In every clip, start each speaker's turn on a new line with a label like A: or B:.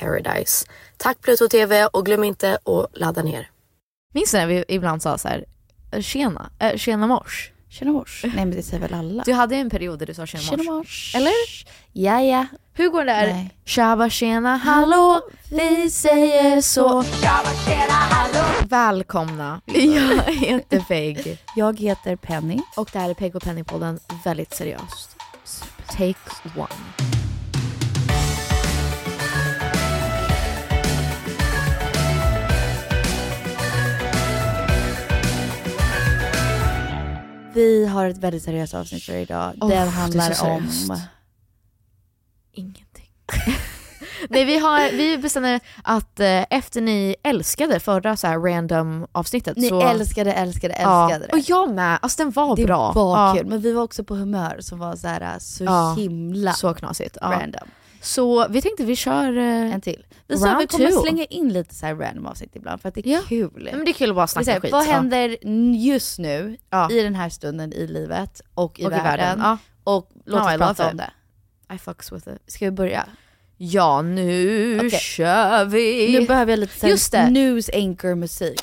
A: paradise. Tack Pluto TV och glöm inte att ladda ner.
B: Minns du när vi ibland sa så här, tjena, eh, tjena mors?
C: Tjena mors. Nej men det säger väl alla.
B: Du hade en period där du sa tjena mors.
C: Tjena mors.
B: Eller?
C: Ja ja.
B: Hur går det där?
C: Nej.
B: Tjaba tjena hallå, vi säger så. Välkomna. Jag heter Peg.
C: Jag heter Penny.
B: Och det här är Peg och Penny-podden, väldigt seriöst. Take one.
C: Vi har ett väldigt seriöst avsnitt för idag.
B: Åh,
C: det
B: det är
C: handlar
B: så
C: om...
B: seriöst. Ingenting. Nej vi, har, vi bestämde att eh, efter ni älskade förra så här random avsnittet
C: Ni
B: så...
C: älskade, älskade,
B: Ja.
C: älskade
B: Och jag med, alltså den var
C: det. Det
B: bra.
C: var
B: Ja.
C: kul. Men vi var också på humör som var så här så
B: Ja.
C: himla
B: Så knasigt. Ja.
C: random.
B: Så vi tänkte vi kör... eh,
C: En till. Vi sa
B: Round
C: att vi kommer
B: two.
C: slänga in lite så här random avsnitt ibland för att det är
B: Ja.
C: kul.
B: men det är kul att bara
C: Det är så
B: snacka
C: här,
B: skit.
C: vad
B: ja.
C: händer n- just nu
B: Ja.
C: i den här stunden i livet och i
B: Och i
C: världen?
B: världen. Ja.
C: Och låt
B: Ja,
C: oss
B: I
C: prata
B: love
C: om det.
B: I fucks with it.
C: Ska vi börja?
B: Ja, nu
C: Okej.
B: kör vi!
C: Nu behöver jag lite
B: Just det.
C: såhär news anchor musik.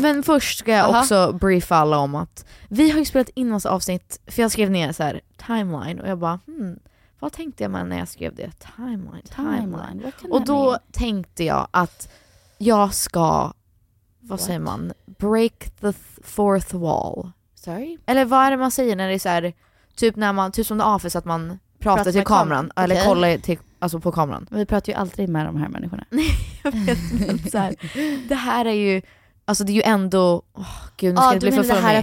B: Men först ska jag
C: Aha.
B: också briefa alla om att vi har ju spelat in massa avsnitt, för jag skrev ner så här timeline och jag bara hmm, vad tänkte jag med när jag skrev det? Timeline, timeline.
C: Vad kan
B: Och
C: det
B: då
C: mean?
B: tänkte jag att jag ska, vad
C: What?
B: säger man, break the th- fourth wall.
C: Sorry?
B: Eller vad är det man säger när det är så här, typ när man, typ som The Office att man pratar,
C: Pratar
B: till
C: med kam-
B: kameran, eller
C: okej.
B: kollar till, alltså på kameran.
C: Men vi pratar ju aldrig med de här människorna.
B: Mm. Jag vet men så här, det här är ju, alltså det är ju ändå, åh gud nu ska
C: Ja,
B: det
C: du
B: bli
C: menar
B: för
C: det här är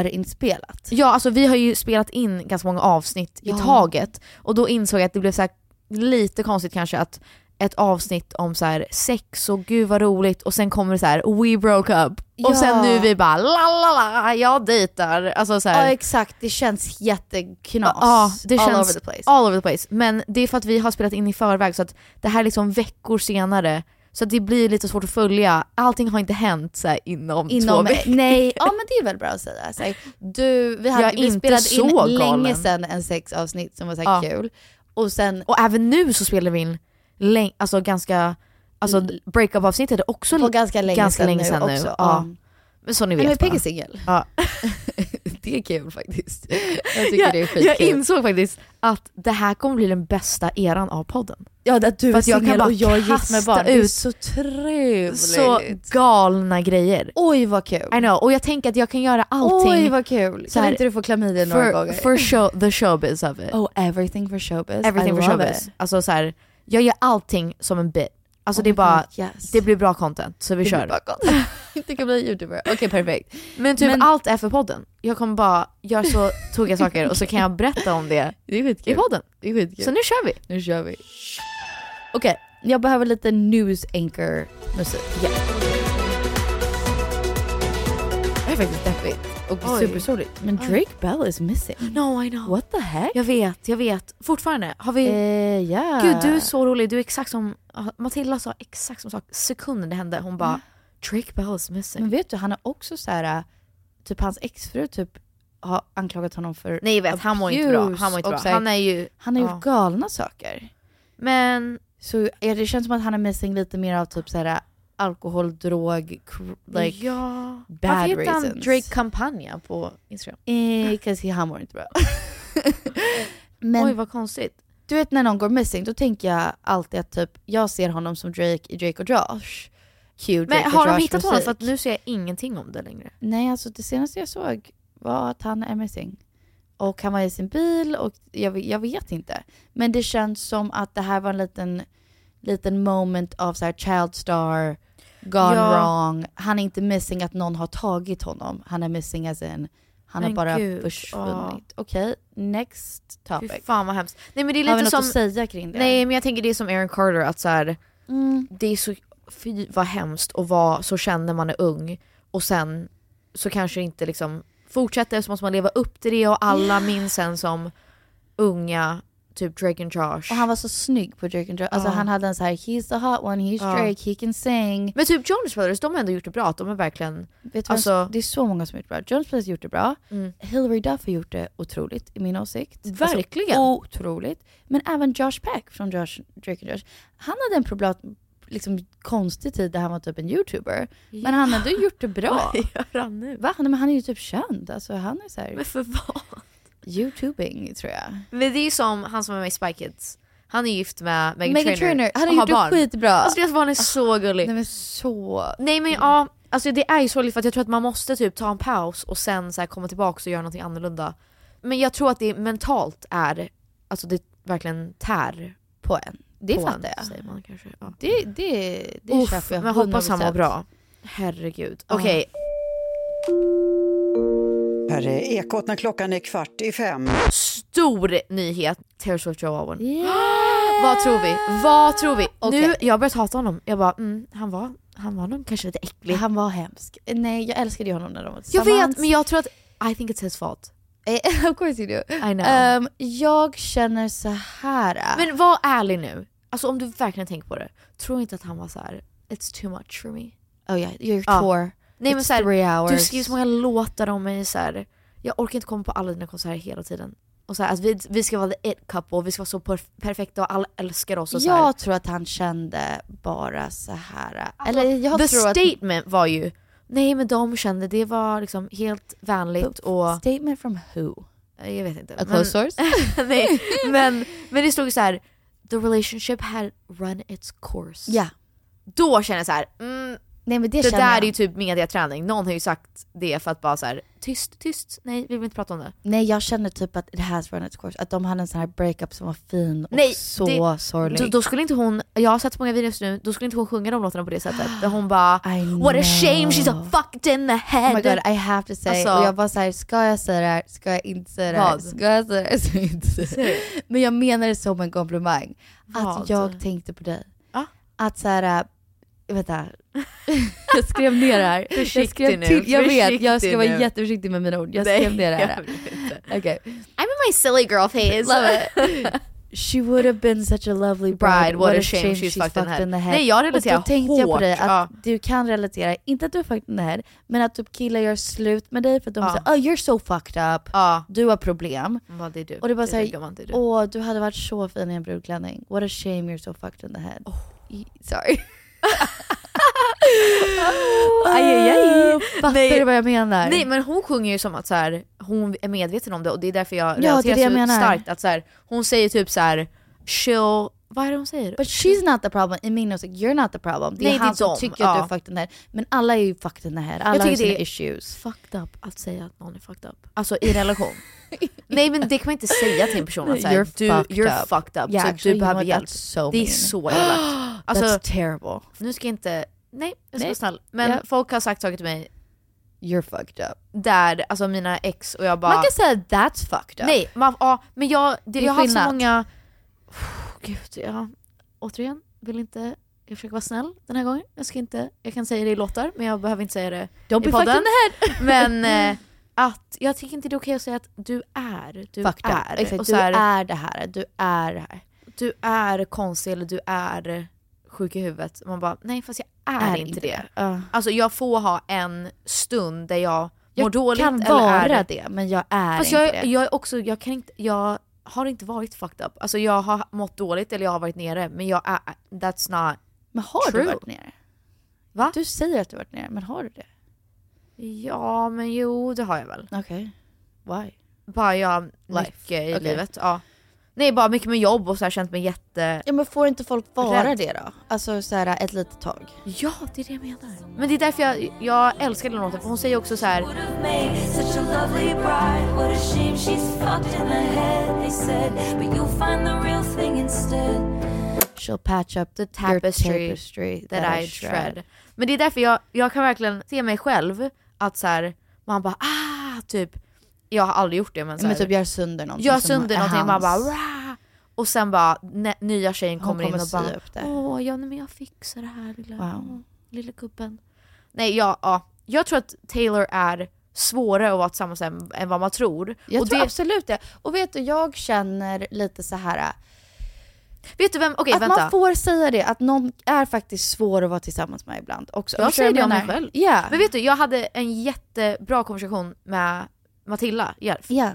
B: flummigt.
C: förinspelat?
B: Ja alltså vi har ju spelat in ganska många avsnitt
C: Ja.
B: i taget och då insåg jag att det blev så här, lite konstigt kanske att ett avsnitt om så här sex och gud vad roligt och sen kommer det så här we broke up.
D: Och sen
C: Ja.
D: nu vi bara la la la, jag dejtar. Alltså så här,
C: Ja exakt, det känns jätteknas.
D: Ja, det
C: all
D: känns
C: over the place.
D: all over the place. Men det är för att vi har spelat in i förväg så att det här är liksom veckor senare. Så att det blir lite svårt att följa. Allting har inte hänt så här inom, två
C: Inom,
D: veckor.
C: nej, ja men det är väl bra att säga. Så här, du, vi,
D: Jag
C: hade,
D: är
C: vi
D: inte
C: spelade in
D: så
C: länge
D: galen.
C: sedan en sexavsnitt som var så här
D: Ja.
C: kul. Och sen
D: Och även nu så spelar vi in läng- alltså ganska, alltså breakup avsnittet är också
C: på Mm. ganska länge
D: ganska
C: sedan
D: länge
C: nu
D: sedan nu.
C: också.
D: Ja.
C: Ja.
D: Men så ni
C: Nej,
D: vet
C: men Peggy
D: bara.
C: är singel.
D: Ja.
C: det är kul faktiskt. Jag tycker
D: Jag,
C: det är
D: jag
C: skitkul.
D: insåg faktiskt att det här kommer bli den bästa eran av podden.
C: ja, att du är
D: För att jag kan
C: singel
D: bara
C: och jag är gift
D: kasta
C: med barn. Det är
D: ut
C: så trevligt.
D: Så galna grejer.
C: Oj vad kul.
D: I know. Och jag tänker att jag kan göra allting
C: Oj vad kul.
D: Så
C: Kan
D: här,
C: inte du få klamydia några
D: för,
C: gånger?
D: för show, the showbiz of it.
C: oh everything for showbiz.
D: Everything
C: I
D: for
C: love
D: showbiz.
C: it.
D: Alltså så här, jag gör allting som en bit. Alltså
C: Oh
D: det är
C: my
D: bara,
C: God, yes.
D: det blir bra content så vi
C: Det
D: kör.
C: blir bara gott. det kan bli youtuber. Okej perfekt.
D: Men typ
C: Men-
D: allt är för podden. Jag kommer bara göra så tokiga saker och så kan jag berätta om det
C: Det är
D: i
C: skitkul.
D: podden.
C: Det är skitkul.
D: Så nu kör vi.
C: Nu kör vi. Okej, jag behöver lite news anchor musik. Det är faktiskt deppigt och
D: Oj.
C: supersorgligt. Men
D: Oj.
C: Drake Bell is missing.
D: No I know.
C: What the heck?
D: Jag vet, jag vet. Fortfarande. Har vi...
C: Eh, ja.
D: Gud du är så rolig, du är exakt som... ah, Matilda sa exakt som sak. Sekunden det hände, hon bara Drake Bell is missing.
C: Men vet du, han har också så här, äh, typ hans exfru typ har anklagat honom för
D: Nej jag vet, han mår inte bra. Han mår inte
C: Och
D: bra.
C: så här,
D: Han är ju...
C: Han har
D: Ja.
C: gjort galna saker.
D: Men
C: Så ja, det känns som att han är missing lite mer av typ så här äh, alkohol, drog, cr- like...
D: ja.
C: bad
D: Varför heter han
C: reasons.
D: Drake Campagna på Instagram?
C: Because han mår inte bra. Men
D: Oj vad konstigt.
C: du vet när någon går missing, då tänker jag alltid att typ, jag ser honom som Drake i Drake och Josh. Q, Drake
D: Men
C: och
D: har de
C: Josh
D: hittat honom?
C: musik.
D: För att nu ser jag ingenting om det längre.
C: Nej, alltså det senaste jag såg var att han är missing. Och han var i sin bil och jag, ve- jag vet inte. Men det känns som att det här var en liten, liten moment av så här child star, gone
D: Ja.
C: wrong. Han är inte missing att någon har tagit honom. Han är missing as in, han har
D: Men
C: bara
D: gud,
C: försvunnit. Okej, next
D: Fy
C: topic.
D: fan vad hemskt. Nej men det är
C: har vi
D: lite
C: något
D: som...
C: att säga kring det?
D: Nej men jag tänker det är som Aaron Carter att så här,
C: Mm.
D: det är så... Fy vad hemskt att vara så känd när man är ung och sen så kanske det inte liksom fortsätter så måste man leva upp till det och alla minns en som unga, typ Drake and Josh.
C: Och han var så snygg på Drake and Josh. Alltså
D: Ja.
C: han hade en så här, he's a hot one, he's
D: Ja.
C: Drake, he can sing.
D: Men typ Jonas Brothers, de har ändå gjort det bra. att De är verkligen...
C: Vet du vad?
D: Alltså-
C: det är så många som har gjort det bra. Jonas Brothers har gjort det bra.
D: Mm.
C: Hillary Duff har gjort det otroligt i min åsikt.
D: Verkligen.
C: Alltså, otroligt. Men även Josh Peck från Josh, Drake and Josh. Han hade en problem, liksom konstig tid där han var typ en youtuber. Men han hade gjort det bra.
D: gör han nu?
C: Va? Nej, Men han är ju typ känd. Alltså han är så här
D: Men för vad?
C: youtubing tror jag.
D: Men det är ju som han som är med i Spy Kids. Han är gift med Meghan,
C: Meghan Trainor, han har gjort det skitbra. Ah.
D: Alltså deras barn är så gulligt.
C: Nej men så...
D: Nej men ja, alltså det är ju sorgligt för att jag tror att man måste typ ta en paus och sen så här komma tillbaka och göra någonting annorlunda. Men jag tror att det mentalt är, alltså det verkligen tär
C: På en. Det
D: på
C: fattar
D: en,
C: jag.
D: Säger man kanske. Ja.
C: Det, det, det
D: Uff,
C: köper jag
D: men hoppas han mår
C: 100%.
D: bra. Herregud. Okej,
E: Här är Ekot när klockan är kvart i fem.
D: stor nyhet. Taylor Swift Joe Owen.
C: Yeah!
D: Vad tror vi? Vad tror vi?
C: Okej.
D: Nu, jag har börjat hata honom. Jag bara, mm, han var, han var nog kanske lite äcklig.
C: Han var hemsk. Nej, jag älskade ju honom när de var
D: jag
C: tillsammans.
D: vet, men jag tror att, I think it's his fault.
C: Eh, of course you do.
D: I know.
C: Ehm, jag känner så här.
D: men var ärlig nu. Alltså om du verkligen tänker på det. Tror inte att han var så här. it's too much for me.
C: oh yeah, your
D: Ja.
C: tour.
D: Nej
C: It's
D: men så här,
C: three hours.
D: du skriver så många låtar om mig så här. jag orkar inte komma på alla dina konserter hela tiden. Och så här, att vi, vi ska vara the it couple, vi ska vara så perf- perfekta och alla älskar oss och så här.
C: Jag tror att han kände bara så här. Eller jag
D: Alltså, The
C: tror
D: statement var ju, nej men de kände det var liksom helt
C: att...
D: vänligt och
C: Statement from
D: Mm.
C: who?
D: jag vet inte.
C: A close source?
D: men, nej, men, men det stod ju så här. the relationship had run its course.
C: Ja.
D: Då känner jag så här, mm,
C: Nej men det,
D: det
C: känner
D: där
C: jag.
D: är ju typ mediaträning. Någon har ju sagt det för att bara så här, tyst, tyst, nej vi vill inte prata om det.
C: Nej jag känner typ att it has run its course. Att de hade en sån här breakup som var fin och
D: Nej,
C: så sorglig.
D: Då, då skulle inte hon, jag har sett så många videos nu, då skulle inte hon sjunga de låtarna på det sättet. Där hon bara
C: I
D: What a shame she's
C: know.
D: a fucked in the
C: Oh
D: head.
C: my god, I have to say.
D: Alltså-
C: och jag var så här, ska jag säga det här? Ska jag inte säga det här?
D: Vad?
C: Ska jag säga det här? Ska jag inte säga det här? Men jag menar det som en komplimang.
D: Vad?
C: Att jag tänkte på dig.
D: Ja.
C: Att så här, äh, vänta. Jag skrev ner det här. jag
D: Försiktig
C: skrev
D: nu,
C: till, jag vet, jag
D: försiktig
C: ska vara
D: nu.
C: jätteförsiktig med mina ord. Jag skrev ner det här. Okej.
F: I'm in my silly girl phase.
C: Love it. She would have been such a lovely bride.
D: Bride, what a shame she's fucked in the head. Nej, jag relaterar
C: Och då tänkte jag på
D: hårt,
C: dig att
D: ja.
C: du kan relatera, inte att du är fucked in the head, men att typ killar gör slut med dig för att de
D: Ja.
C: säger oh, you're so fucked up,
D: Ja.
C: du har problem.
D: Vad är du?
C: Och det var såhär,
D: gumman, det är du.
C: åh du hade varit så fin i en brudklänning. What a shame you're so fucked in the head. I- Sorry.
D: aj, aj, aj.
C: Fattar
D: Nej.
C: du vad jag menar?
D: Nej men hon sjunger ju som att så här, hon är medveten om det och det är därför jag
C: det är
D: relaterar
C: det jag
D: så
C: menar.
D: starkt att så här, hon säger typ så här, she'll, vad är det hon säger?
C: But she's not the problem, i min åsikt, you're not the problem. Det är
D: Nej, det är
C: han som
D: de.
C: tycker att
D: Ja.
C: du är fucked in the head. Men alla är ju fucked in the head, alla
D: Jag
C: har ju
D: tycker
C: sina
D: det är-
C: issues.
D: fucked up att säga att någon är fucked up. Alltså i relation. Nej men det kan man inte säga till en person att säga,
C: You're
D: du,
C: fucked
D: you're
C: up."
D: fucked up,
C: Yeah,
D: så
C: actually,
D: du
C: you
D: behöver
C: know what?
D: hjälp.
C: That's so
D: det är
C: mean.
D: så elakt. Alltså
C: That's terrible.
D: nu ska jag inte, nej jag ska
C: Nej.
D: vara snäll. Men
C: Ja.
D: folk har sagt saker till mig
C: You're fucked up. Ah.
D: där, alltså mina ex och jag bara
C: Man kan säga that's fucked up.
D: Nej, man, ja, men jag, det,
C: ah, Det är
D: jag har haft så
C: skillnad.
D: många... Oh, gud, jag, återigen, vill inte... Jag försöker vara snäll den här gången. Jag, ska inte, jag kan säga det i låtar, men jag behöver inte säga det
C: Don't
D: i
C: be fucked
D: podden.
C: in the head.
D: Men eh, att, jag tycker inte det är okej att säga att du är, du
C: fucked up.
D: är.
C: Exakt,
D: Och
C: du
D: så här,
C: är det här, du är det här.
D: du är konstig eller du är sjuk i huvudet. Man bara, nej fast jag är, inte det.
C: Ja.
D: Alltså jag får ha en stund där jag, mår
C: Jag
D: dåligt
C: kan
D: eller är
C: vara det, men jag är
D: Fast
C: inte
D: jag,
C: det.
D: jag är också, jag kan inte, jag har inte varit fucked up. Alltså jag har mått dåligt eller jag har varit nere men jag är, that's not...
C: men har
D: True.
C: du varit nere?
D: Va?
C: Du säger att du varit nere, men har du det?
D: Ja men jo det har jag väl.
C: Okej. Why?
D: Bara jag,
C: Life.
D: mycket i
C: Okej.
D: livet. Ja. Nej bara mycket med jobb och så här känt mig jätte...
C: Ja men får inte folk vara
D: Rädd.
C: det då? Alltså så här ett litet tag.
D: Ja det är det jag menar. Men det är därför jag, jag älskar den låten för hon säger också så här.
C: She'll patch up the
D: tapestry
C: tapestry
D: that, I shred. Men det är därför jag, jag kan verkligen se mig själv att så här, man bara ah typ, jag har aldrig gjort det men, så
C: Ja,
D: här,
C: Men typ gör sönder någonting.
D: gör
C: som
D: sönder
C: är
D: någonting
C: hans.
D: man bara "Rah!" och sen bara nä- nya tjejen
C: Hon
D: kommer in
C: kommer
D: och
C: sy
D: bara
C: upp det.
D: åh ja nej, men jag fixar det här lilla,
C: Wow.
D: lilla gubben. Nej ja, ja, jag tror att Taylor är svårare att vara tillsammans än, än vad man tror.
C: Jag
D: och
C: tror
D: det,
C: absolut det. Och vet du, jag känner lite så här. äh,
D: vet du vem, okej
C: att
D: vänta.
C: man får säga det, att någon är faktiskt svår att vara tillsammans med ibland också.
D: Jag
C: Förstår du
D: säger det
C: vad
D: om
C: jag
D: mig
C: menar?
D: själv.
C: Ja.
D: Men vet du, jag hade en jättebra konversation med Matilda Järf.
C: Ja.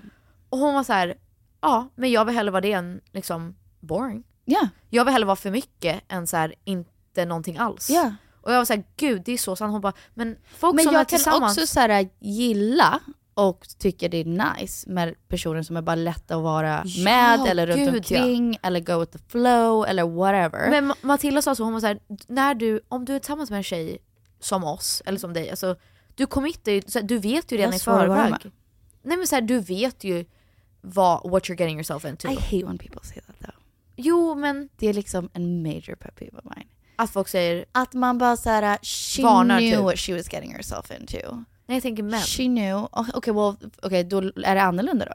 D: Och hon var så här, ja men jag vill hellre vara det än liksom boring.
C: Ja.
D: Jag vill hellre vara för mycket än så här inte någonting alls.
C: Ja.
D: Och jag var så här, gud det är så sant. Hon bara, men folk
C: Men
D: som är
C: jag kan
D: tillsammans.
C: också så här, äh, gilla och tycka det är nice med personer som är bara lätta att vara
D: Ja,
C: med eller runt
D: gud,
C: omkring eller go with the flow eller whatever.
D: Men Ma- Matilda sa så, hon var så här, när du, om du är tillsammans med en tjej som oss, eller som dig, alltså du committar ju, så här, du vet ju redan
C: Jag
D: i
C: svor att vara
D: förväg.
C: med.
D: Nej men så här, du vet ju vad, what you're getting yourself into.
C: I hate when people say that though.
D: Jo men
C: Det är liksom en major pet peeve of mine.
D: att folk säger,
C: Att man bara såhär, she
D: Varnar
C: knew
D: typ.
C: what she was getting herself into.
D: nej jag tänker män.
C: She knew, Ah, okej okay, well, okay, då är det annorlunda då?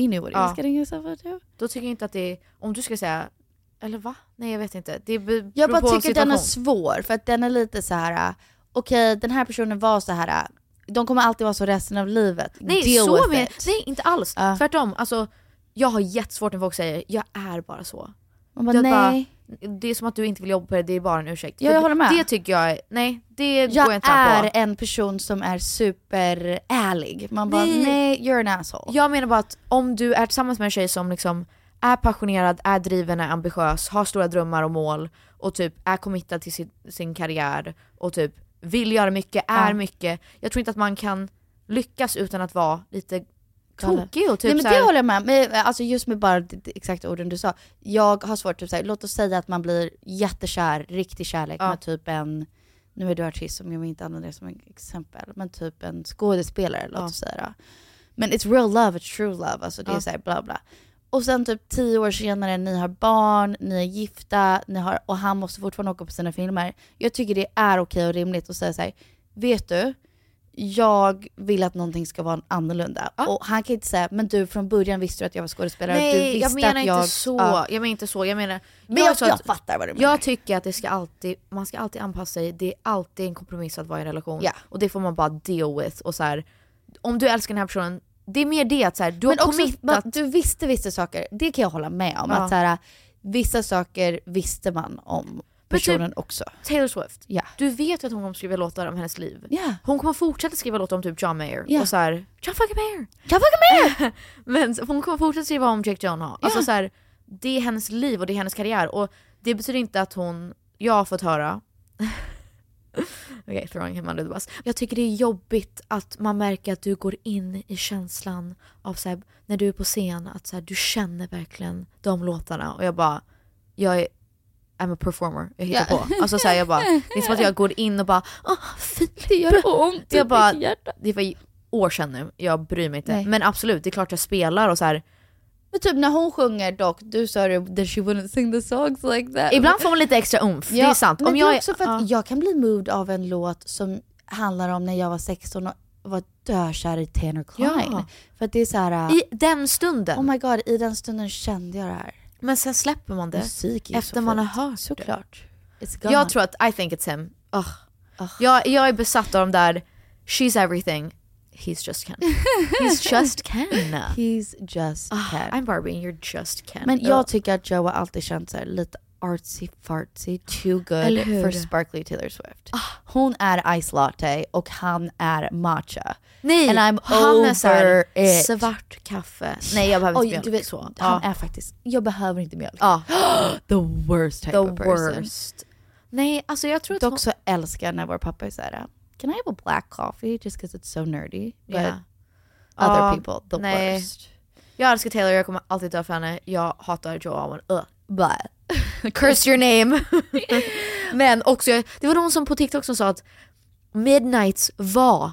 C: He knew what he
D: Ja.
C: was getting herself into.
D: Då tycker jag inte att det är, om du ska säga, eller va? Nej jag vet inte. Det be- beror
C: Jag bara
D: på
C: tycker att den är
D: situation.
C: svår för att den är lite så här. äh, okej den här personen var så här. äh, de kommer alltid vara så resten av livet.
D: Nej,
C: Deal
D: så
C: with
D: med,
C: it.
D: nej inte alls.
C: Ja.
D: Tvärtom. Alltså, jag har jättesvårt när folk säger jag är bara så.
C: Man bara
D: Du vet bara,
C: nej,
D: det är som att du inte vill jobba på det, det är bara en ursäkt.
C: Ja, jag
D: För
C: håller med.
D: Det tycker jag är, nej det går jag
C: jag
D: inte med
C: är
D: på.
C: en person som är superärlig. Man bara
D: Nej.
C: nej, you're an asshole.
D: Jag menar bara att om du är tillsammans med en tjej som liksom är passionerad, är driven, är ambitiös, har stora drömmar och mål och typ är committad till sin, sin karriär och typ vill göra mycket, är
C: Ja.
D: mycket. Jag tror inte att man kan lyckas utan att vara lite
C: Galen.
D: tokig och typ
C: Nej men
D: så här-
C: det håller jag med men, alltså just med bara de, de exakta orden du sa. Jag har svårt, typ, såhär, låt oss säga att man blir jättekär, riktig kärlek
D: Ja.
C: med typ en, nu är du artist som jag vill inte använda det som ett exempel, men typ en skådespelare låt
D: Ja.
C: oss säga då. Men it's real love, it's true love, alltså det är
D: Ja.
C: såhär bla bla. Och sen typ tio år senare, ni har barn, ni är gifta, ni har, och han måste fortfarande åka på sina filmer. Jag tycker det är okej och rimligt att säga såhär, vet du, jag vill att någonting ska vara annorlunda. Och han kan inte säga, men du från början visste du att jag var skådespelare. du
D: Nej,
C: visste
D: jag menar
C: att jag,
D: inte så.
C: Ja.
D: Jag menar inte så. Jag menar...
C: Men jag-
D: sa
C: jag
D: att-
C: fattar vad du menar.
D: Jag tycker att det ska alltid, man ska alltid anpassa sig. Det är alltid en kompromiss att vara i en relation.
C: Ja.
D: Och det får man bara deal with. Och så här, om du älskar den här personen, det är mer det att så här, du
C: men
D: har
C: också, man,
D: committat.
C: du visste vissa saker, det kan jag hålla med om.
D: Ja.
C: Att så här, vissa saker visste man om
D: typ
C: personen också.
D: Taylor Swift,
C: Ja.
D: du vet ju att hon kommer skriva låtar om hennes liv.
C: Ja.
D: Hon kommer fortsätta skriva låtar om typ John Mayer
C: Ja.
D: och så här, John fucking Mayer!
C: Kan jag med?
D: Men hon kommer fortsätta skriva om Jake Gyllenhaal. Alltså så här, det är hennes liv och det är hennes karriär. Och det betyder inte att hon, jag har fått höra, okej throwing him under the bus. Jag tycker det är jobbigt att man märker att du går in i känslan av så här, när du är på scen, att så här, du känner verkligen de låtarna. Och jag bara, jag är I'm a performer, jag hittar
C: Ja.
D: på. Alltså så här, jag bara, det är som att jag går in och bara Åh, fint, det
C: gör ont i
D: Jag bara,
C: mitt hjärta."
D: det var ju år sedan nu, jag bryr mig inte.
C: Nej.
D: Men absolut, det är klart jag spelar och så här.
C: Men typ när hon sjunger dock, du sa det that she wouldn't sing the songs like that.
D: Ibland får man lite extra umf, det är sant.
C: Men
D: Om jag
C: det är
D: är-
C: också för att jag kan bli moved av en låt som handlar om när jag var 16 och var dörkär i Tanner Klein.
D: Ja.
C: För att det är så här.
D: I den stunden.
C: oh my god, i den stunden kände jag det här.
D: men sen släpper man det
C: Musik är ju
D: efter
C: så
D: man har
C: fint.
D: hört det.
C: Såklart. It's gone.
D: Jag tror att I think it's him. Ugh. Jag, jag är besatt av de där “she's everything, he's just Ken”. he's just Ken.
C: He's just
D: Ugh,
C: Ken.
D: I'm Barbie and you're just Ken.
C: Men jag
D: Ugh.
C: tycker att Joe har alltid känt så här lite artsy fartsy, too
D: Eller hur?
C: good for sparkly Taylor Swift. Hon är ice latte och han är matcha.
D: Nej,
C: And I'm
D: han är så här,
C: over it.
D: svart kaffe. Nej jag behöver
C: Oj,
D: inte
C: du
D: mjölk.
C: vet,
D: så.
C: Han
D: Ja.
C: är faktiskt, jag behöver inte mjölk.
D: Ja.
C: The worst type
D: The
C: of person.
D: worst. Nej alltså jag tror att hon-
C: Dock så älskar jag när vår pappa är såhär, can I have a black coffee just because it's so nerdy? But
D: Ja.
C: other
D: Ja,
C: people, the
D: Ah, nej.
C: worst.
D: Jag älskar Taylor, jag kommer alltid dö för henne. Jag hatar Joe Alwyn. Ugh. Blah. Curse your name. Men också, jag- det var någon som på TikTok som sa att Midnights var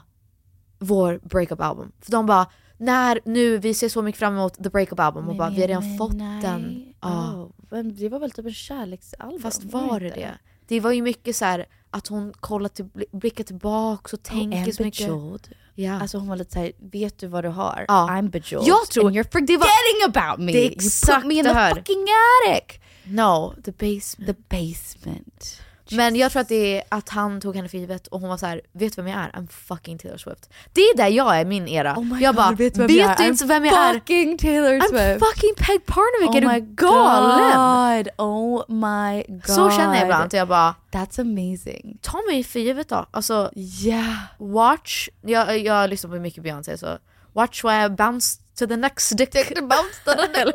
D: vår breakup album. För de bara, när, nu, vi ser så mycket fram emot the breakup album och bara, vi har redan fått den. Ja.
C: Oh, men det var väl typ en kärleksalbum?
D: Fast
C: det
D: var det
C: inte?
D: det? Det var ju mycket så här att hon kollar till, blickar tillbaka och tänker så mycket.
C: bejeweled.
D: Oh, Ja.
C: Oh, Alltså hon var lite såhär, vet du vad du har?
D: Ja.
C: I'm bejeweled.
D: Jag tror-
C: And you're forgetting about me!
D: Det är
C: You
D: exakt
C: put me in
D: det
C: the
D: här.
C: fucking attic!
D: No, the basement.
C: The basement.
D: Men jag tror att det är att han tog henne för givet och hon var så här: vet du vem jag är? I'm fucking Taylor Swift. Det är där jag är i min era.
C: Oh my God,
D: jag bara,
C: vet du vem jag är?
D: du inte vem jag
C: I'm
D: är?
C: fucking Taylor
D: I'm
C: Swift.
D: fucking Peg Parnevik,
C: Oh
D: är
C: my
D: du galen?
C: God. Oh my god.
D: Så känner jag ibland. Jag bara,
C: That's amazing.
D: ta mig för givet då. Alltså,
C: Yeah.
D: watch, jag, jag lyssnar på mycket Beyoncé så, watch why I bounce to the next dick. bounce to the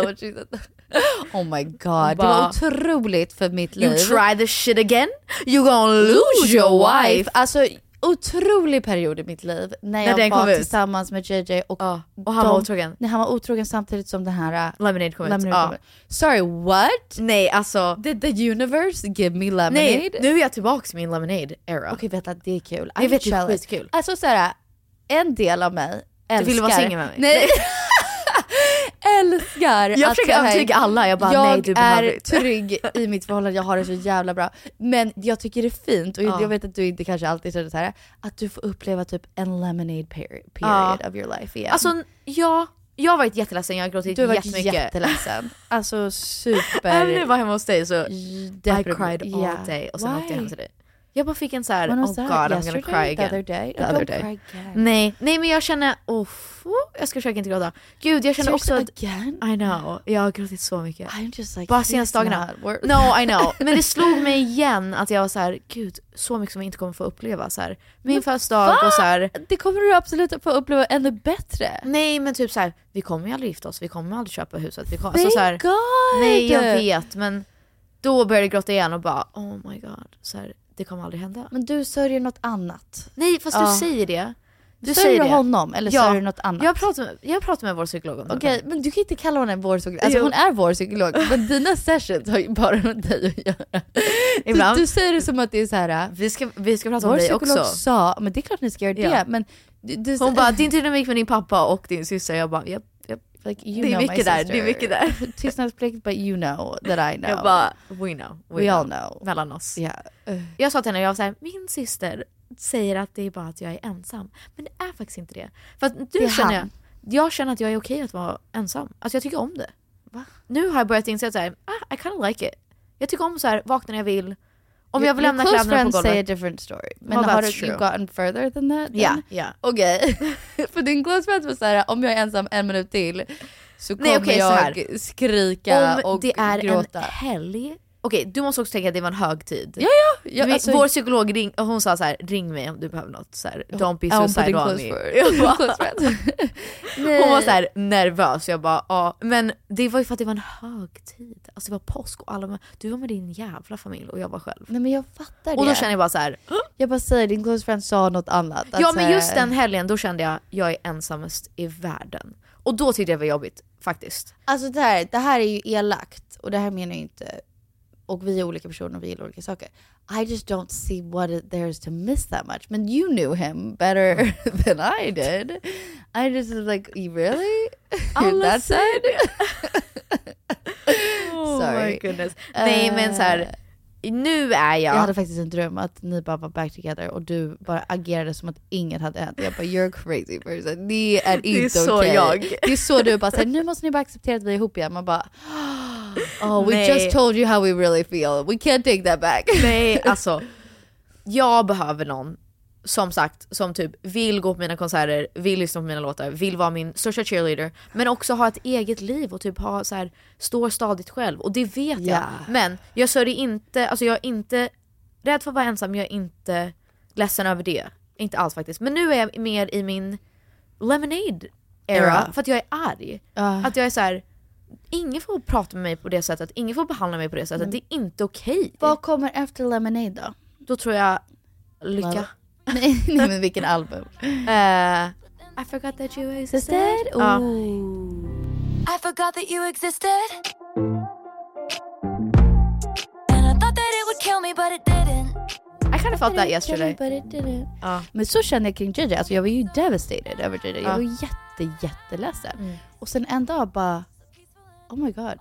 D: next
C: Oh my god. Det
D: Bara-
C: var otroligt för mitt liv.
D: You try this shit again, you gonna lose your wife.
C: Alltså otrolig period i mitt liv när jag
D: den kom
C: var
D: ut.
C: tillsammans med JJ och,
D: Ja, och han var otrogen.
C: Nej, han var otrogen samtidigt som den här... äh,
D: Lemonade kom ut,
C: Lemonade
D: ja.
C: kom ut. Sorry what?
D: Nej alltså,
C: Did the universe give me lemonade?
D: nej, nu är jag tillbaka till min lemonade era.
C: Okej vänta det är kul.
D: Jag
C: I'm
D: vet, det är typ
C: jealous.
D: skitkul.
C: Alltså såhär, en del av mig älskar...
D: ville vara singel med mig.
C: Nej. älskar
D: Jag försöker
C: så här-
D: övertyga alla, jag bara, nej, du
C: är
D: behöver inte.
C: trygg i mitt förhållande, jag har det så jävla bra. Men jag tycker det är fint och
D: Ja.
C: jag vet att du inte kanske alltid känner så här att du får uppleva typ en lemonade peri-
D: Ja.
C: period of your life igen.
D: Alltså ja, jag har varit jätteledsen, jag har gråtit
C: du har varit
D: jättemycket.
C: jätteledsen. Alltså super...
D: Även när jag var hemma hos dig så I
C: deprimerad.
D: cried all
C: Yeah.
D: day och sen åkte jag hem
C: Why?
D: till dig. Jag bara fick en så här,
C: When
D: oh
C: was
D: god
C: that?
D: I'm gonna
C: Yesterday?
D: cry again.
C: The other day? Oh,
D: The other
C: Don't
D: day.
C: cry again.
D: Nej, nej men jag känner, oh, jag ska försöka inte gråta. Gud jag känner också att,
C: Seriously, Typ again?
D: I know, jag har gråtit så mycket.
C: I'm just like,
D: Bara
C: he's
D: senaste dagarna.
C: not worth-
D: No I know. Men det slog mig igen att jag var så här, gud så mycket som jag inte kommer få uppleva. Så här. Min födelsedag och så här,
C: Det kommer du absolut få uppleva ännu bättre.
D: Nej men typ så här, vi kommer ju aldrig gifta oss, vi kommer aldrig köpa huset. Vi kommer, alltså, så här,
C: God!
D: Nej jag vet men då började jag gråta igen och bara oh my god, så här, det kommer aldrig hända.
C: Men du sörjer något annat.
D: nej fast du
C: Ja.
D: säger det. Du
C: Sörjer
D: säger
C: du
D: det.
C: honom eller sörjer du något annat?
D: Jag pratar med, jag pratar med vår psykolog om det.
C: Okej, men du kan inte kalla henne vår psykolog. Alltså
D: Jo.
C: hon är vår psykolog, men dina sessions har ju bara med dig att göra.
D: Ibland.
C: Du, du säger det som att det är så här. äh,
D: Vi ska, vi ska prata om
C: Vår
D: dig
C: psykolog
D: också.
C: sa, men det är klart ni ska göra det,
D: Ja.
C: men du, du,
D: Hon bara din dynamik med din pappa och din syster, jag bara japp, japp.
C: like, you
D: det är
C: know my
D: mycket där, det är
C: sister.
D: mycket där.
C: Tystnadsplikt, but you know that I know.
D: Jag bara we know, we,
C: We
D: know.
C: all know.
D: Mellan oss.
C: Yeah.
D: Jag sa till henne, jag var såhär min syster säger att det är bara att jag är ensam. Men det är faktiskt inte det. För att nu
C: Det är
D: känner jag,
C: han.
D: jag känner att jag är okej att vara ensam. Alltså jag tycker om det. Nu har jag börjat inse att så här, ah, I kind of like it. Jag tycker om så här, vakna när jag vill. Om jag vill lämna
C: Your close
D: kläderna på
C: friends say a
D: golvet.
C: different story. Men
D: Well,
C: har
D: that's
C: du
D: true.
C: you've gotten further than that? then?
D: Ja, ja.
C: Okej. För din close friends var såhär, om jag är ensam en minut till så kommer
D: Nej, okej, så här.
C: jag skrika
D: Om
C: och
D: det är
C: gråta.
D: en helg. Okej, du måste också tänka att det var en högtid.
C: Ja, ja. ja
D: Vi-
C: alltså,
D: Vår psykolog ring, hon sa så här: ring mig om du behöver något. Så här, Don't be
C: är hon på din
D: suicidal.
C: close
D: Annie."
C: friend?
D: Jag
C: Close
D: bara-
C: friend.
D: hon
C: Eh.
D: var så här nervös, jag bara ja. Men det var ju för att det var en högtid. Alltså det var påsk och alla var- du var med din jävla familj och jag var själv.
C: Nej men jag fattar det.
D: Och då känner jag bara så här.
C: jag bara säger din close friend sa något annat.
D: Ja
C: Att så
D: men
C: här-
D: just den helgen då kände jag, jag är ensamast i världen. Och då tyckte jag det var jobbigt faktiskt.
C: Alltså det här, det här är ju elakt och det här menar jag inte, och vi är olika personer och vi gillar olika saker. I just don't see what it, there is to miss that much. Men you knew him better than I did. I just was like, "You really? That side? Sorry.
D: Oh goodness.
C: Eh.
D: Nej men så här, nu är jag...
C: Jag hade faktiskt en dröm att ni bara var back together och du bara agerade som att inget hade hänt. Jag bara you're a crazy person, det är inte
D: är så
C: okej.
D: jag.
C: Det är så du bara säger nu måste ni bara acceptera att vi är ihop igen. Man bara oh we
D: Nej.
C: just told you how we really feel, we can't take that back.
D: Nej alltså, jag behöver någon som sagt som typ vill gå på mina konserter, vill lyssna på mina låtar, vill vara min största cheerleader men också ha ett eget liv och typ ha så här, stå stadigt själv och det vet
C: Ja.
D: jag. Men jag sörjer inte, alltså jag är inte rädd för att vara ensam, jag är inte ledsen över det. Inte alls faktiskt. Men nu är jag mer i min lemonade era
C: Era.
D: för att jag är arg.
C: Ah.
D: Att jag är så här. ingen får prata med mig på det sättet, ingen får behandla mig på det sättet, det är inte okej.
C: Mm. Vad kommer efter Lemonade då?
D: Då tror jag lycka.
C: Nej, nej men vilken album?
D: Eh, I forgot that you existed. Ja.
G: I forgot that you existed. And I thought that it would kill me, but it didn't.
D: I kind of felt that yesterday. Ja.
C: Men så kände jag kring JJ, alltså jag var ju devastated över JJ.
D: Ja. Mm.
C: Jag var jätte jätteledsen. Och sen en dag bara oh my god.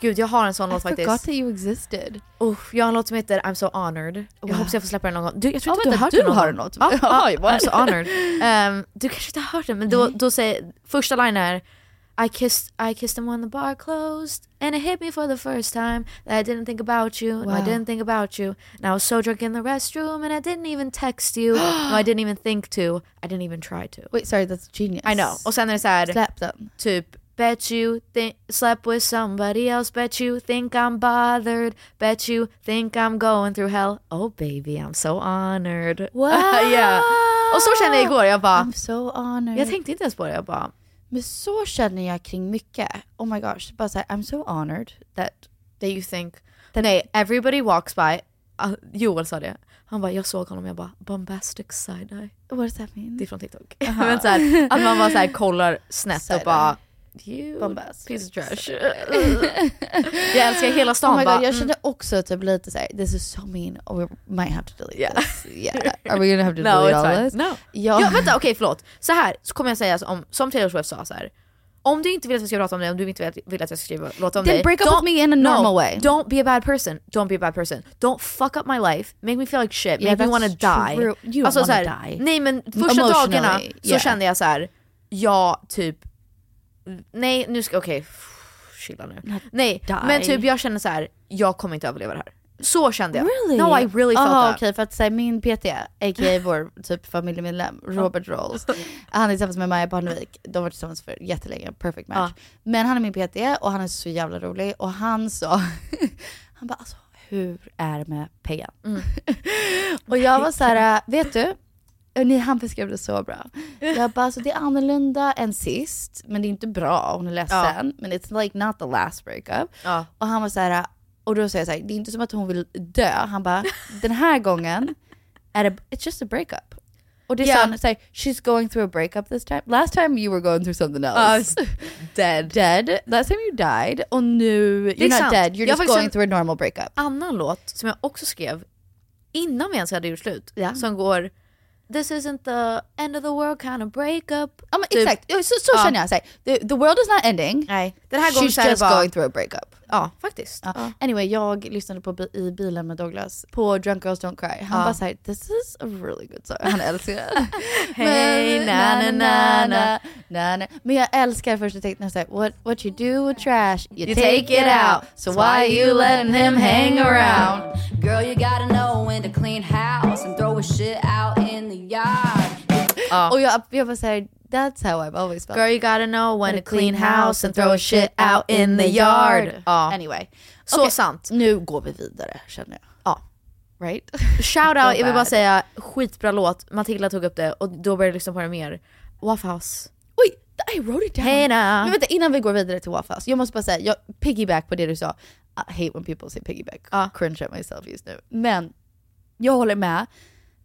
D: Gud jag har en sån
C: I
D: låt
C: forgot
D: faktiskt.
C: that you existed.
D: Usch, jag har en låt som heter I'm so honored. Jag hoppas jag får släppa den någon gång. Du, jag tror
C: Ja,
D: inte du har
C: vänta,
D: hört den
C: Oh, du har en
D: någon gång.
C: låt.
D: Ja, ja,
C: Oj, what?
D: I'm so honored. Ehm, du kanske inte har hört den men då, då säger, första line är I kissed, I kissed him when the bar closed and it hit me for the first time that I didn't think about you, no, I
C: Wow.
D: didn't think about you and I was so drunk in the restroom and I didn't even text you, no, I didn't even think to, I didn't even try to.
C: Wait, sorry, that's genius.
D: I know. Och sen är det så här,
C: Släpp den.
D: typ Bet you think slept with somebody else. Bet you think I'm bothered. Bet you think I'm going through hell. Oh baby, I'm so honored. Wow! yeah. Och så kände jag igår, jag bara,
C: I'm so honored.
D: jag tänkte inte ens på det. Jag bara,
C: Men så känner jag kring mycket. Oh my gosh, bara såhär, I'm so honored that...
D: that you think, nej, everybody walks by. Uh, Joel sa det. Han bara, jag såg honom, jag bara, bombastic side-eye.
C: What does that mean?
D: Det är från TikTok. Men så här, att man bara så här kollar snett och
C: Side-eye.
D: bara, you
C: Bombastic
D: piece of trash. jag älskar hela stan
C: Oh my
D: bara,
C: god, jag
D: mm.
C: kände också typ lite såhär, this is so mean, oh, we might have to delete this. Yeah. Are we gonna have to delete all this?
D: "Mm, No. Ja.
C: Ja.
D: vänta okej förlåt. Så här så kommer jag säga som, som Taylor Swift sa så här. Om du inte vill att jag ska prata om dig, om du inte vill- vill att jag ska skriva låt om
C: Then
D: dig.
C: break up
D: don't-
C: with me in a
D: no,
C: normal way.
D: Don't be a bad person. Don't be a bad person. Don't fuck up my life. Make me feel like shit.
C: Yeah,
D: Make
C: that's
D: me wanna die. Alltså,
C: true. You don't
D: så
C: wanna
D: här,
C: die.
D: Nej men första
C: Emotionally,
D: dagarna så
C: yeah.
D: kände jag så här. jag typ, nej nu ska, okej, chilla nu. nej men
C: die.
D: typ jag kände så här. jag kommer inte överleva det här. Så kände jag.
C: Really?
D: No I really felt
C: Aha,
D: that.
C: okej, för att säga min PT, a.k.a. vår typ familjemedlem, Robert Rolls. Han är tillsammans med Maja Barnevik. De har varit tillsammans för jättelänge, perfect match. Men han är min PT och han är så jävla rolig. Och han sa, han bara alltså hur är det med Peggan?
D: Mm.
C: och jag var så här, vet du? Och Ni, han beskrev det så bra. Jag bara, alltså det är annorlunda än sist, men det är inte bra, hon är ledsen. Men it's like not the last breakup.
D: Ja.
C: Och han var så här, och då säger jag så här, det är inte som att hon vill dö. Han bara, den här gången är det, it's just a breakup. Och det
D: Ja.
C: sa han så här, she's going through a breakup this time. Last time you were going through something
D: I
C: else.
D: was dead.
C: dead. Last time you died. Och nu,
D: Det är
C: you're not
D: sant.
C: dead, you're
D: Jag har
C: just
D: faktiskt
C: going
D: en-
C: through a normal breakup.
D: annan låt som jag också skrev innan vi ens hade gjort slut.
C: Ja.
D: Som går This isn't the end of the world kind of breakup.
C: Ja men
D: Typ.
C: exakt, så, så
D: Ja.
C: känner jag. Så här, the, the world is not ending.
D: Nej. Den här gången
C: She's
D: så är det
C: just
D: bara,
C: going through a breakup.
D: Ja, faktiskt.
C: Ja. Anyway, jag lyssnade på bi- i bilen med Douglas på Drunk Girls Don't Cry. Han
D: Ja.
C: bara såhär, this is a really good song. Han älskar det.
D: Hey,
C: Men-
D: na, na, na, na.
C: na, na. Men jag älskar första texten, såhär, what, what you do with trash, you,
D: You
C: take,
D: take
C: it
D: it
C: out.
D: out.
C: So why you letting him hang around?
H: Girl, you gotta know when to clean house and throw a shit out in the yard.
C: Och jag, jag bara såhär, that's how I've always felt.
D: Girl, you gotta know when to clean house and throw shit out in the yard.
C: Ja. Anyway.
D: Så
C: Okej,
D: sant.
C: Nu går vi vidare känner jag.
D: Ja.
C: Right?
D: Shout out, jag vill bara
C: bad.
D: säga skitbra låt. Matilda tog upp det och då började jag lyssna på det mer. Waffle House.
C: Oj, I wrote it down.
D: Hey, nah.
C: Men vänta, innan vi går vidare till Waffle House, jag måste bara säga, jag, piggyback på det du sa. I hate when people say piggyback. Cringe at myself just nu. Men jag håller med.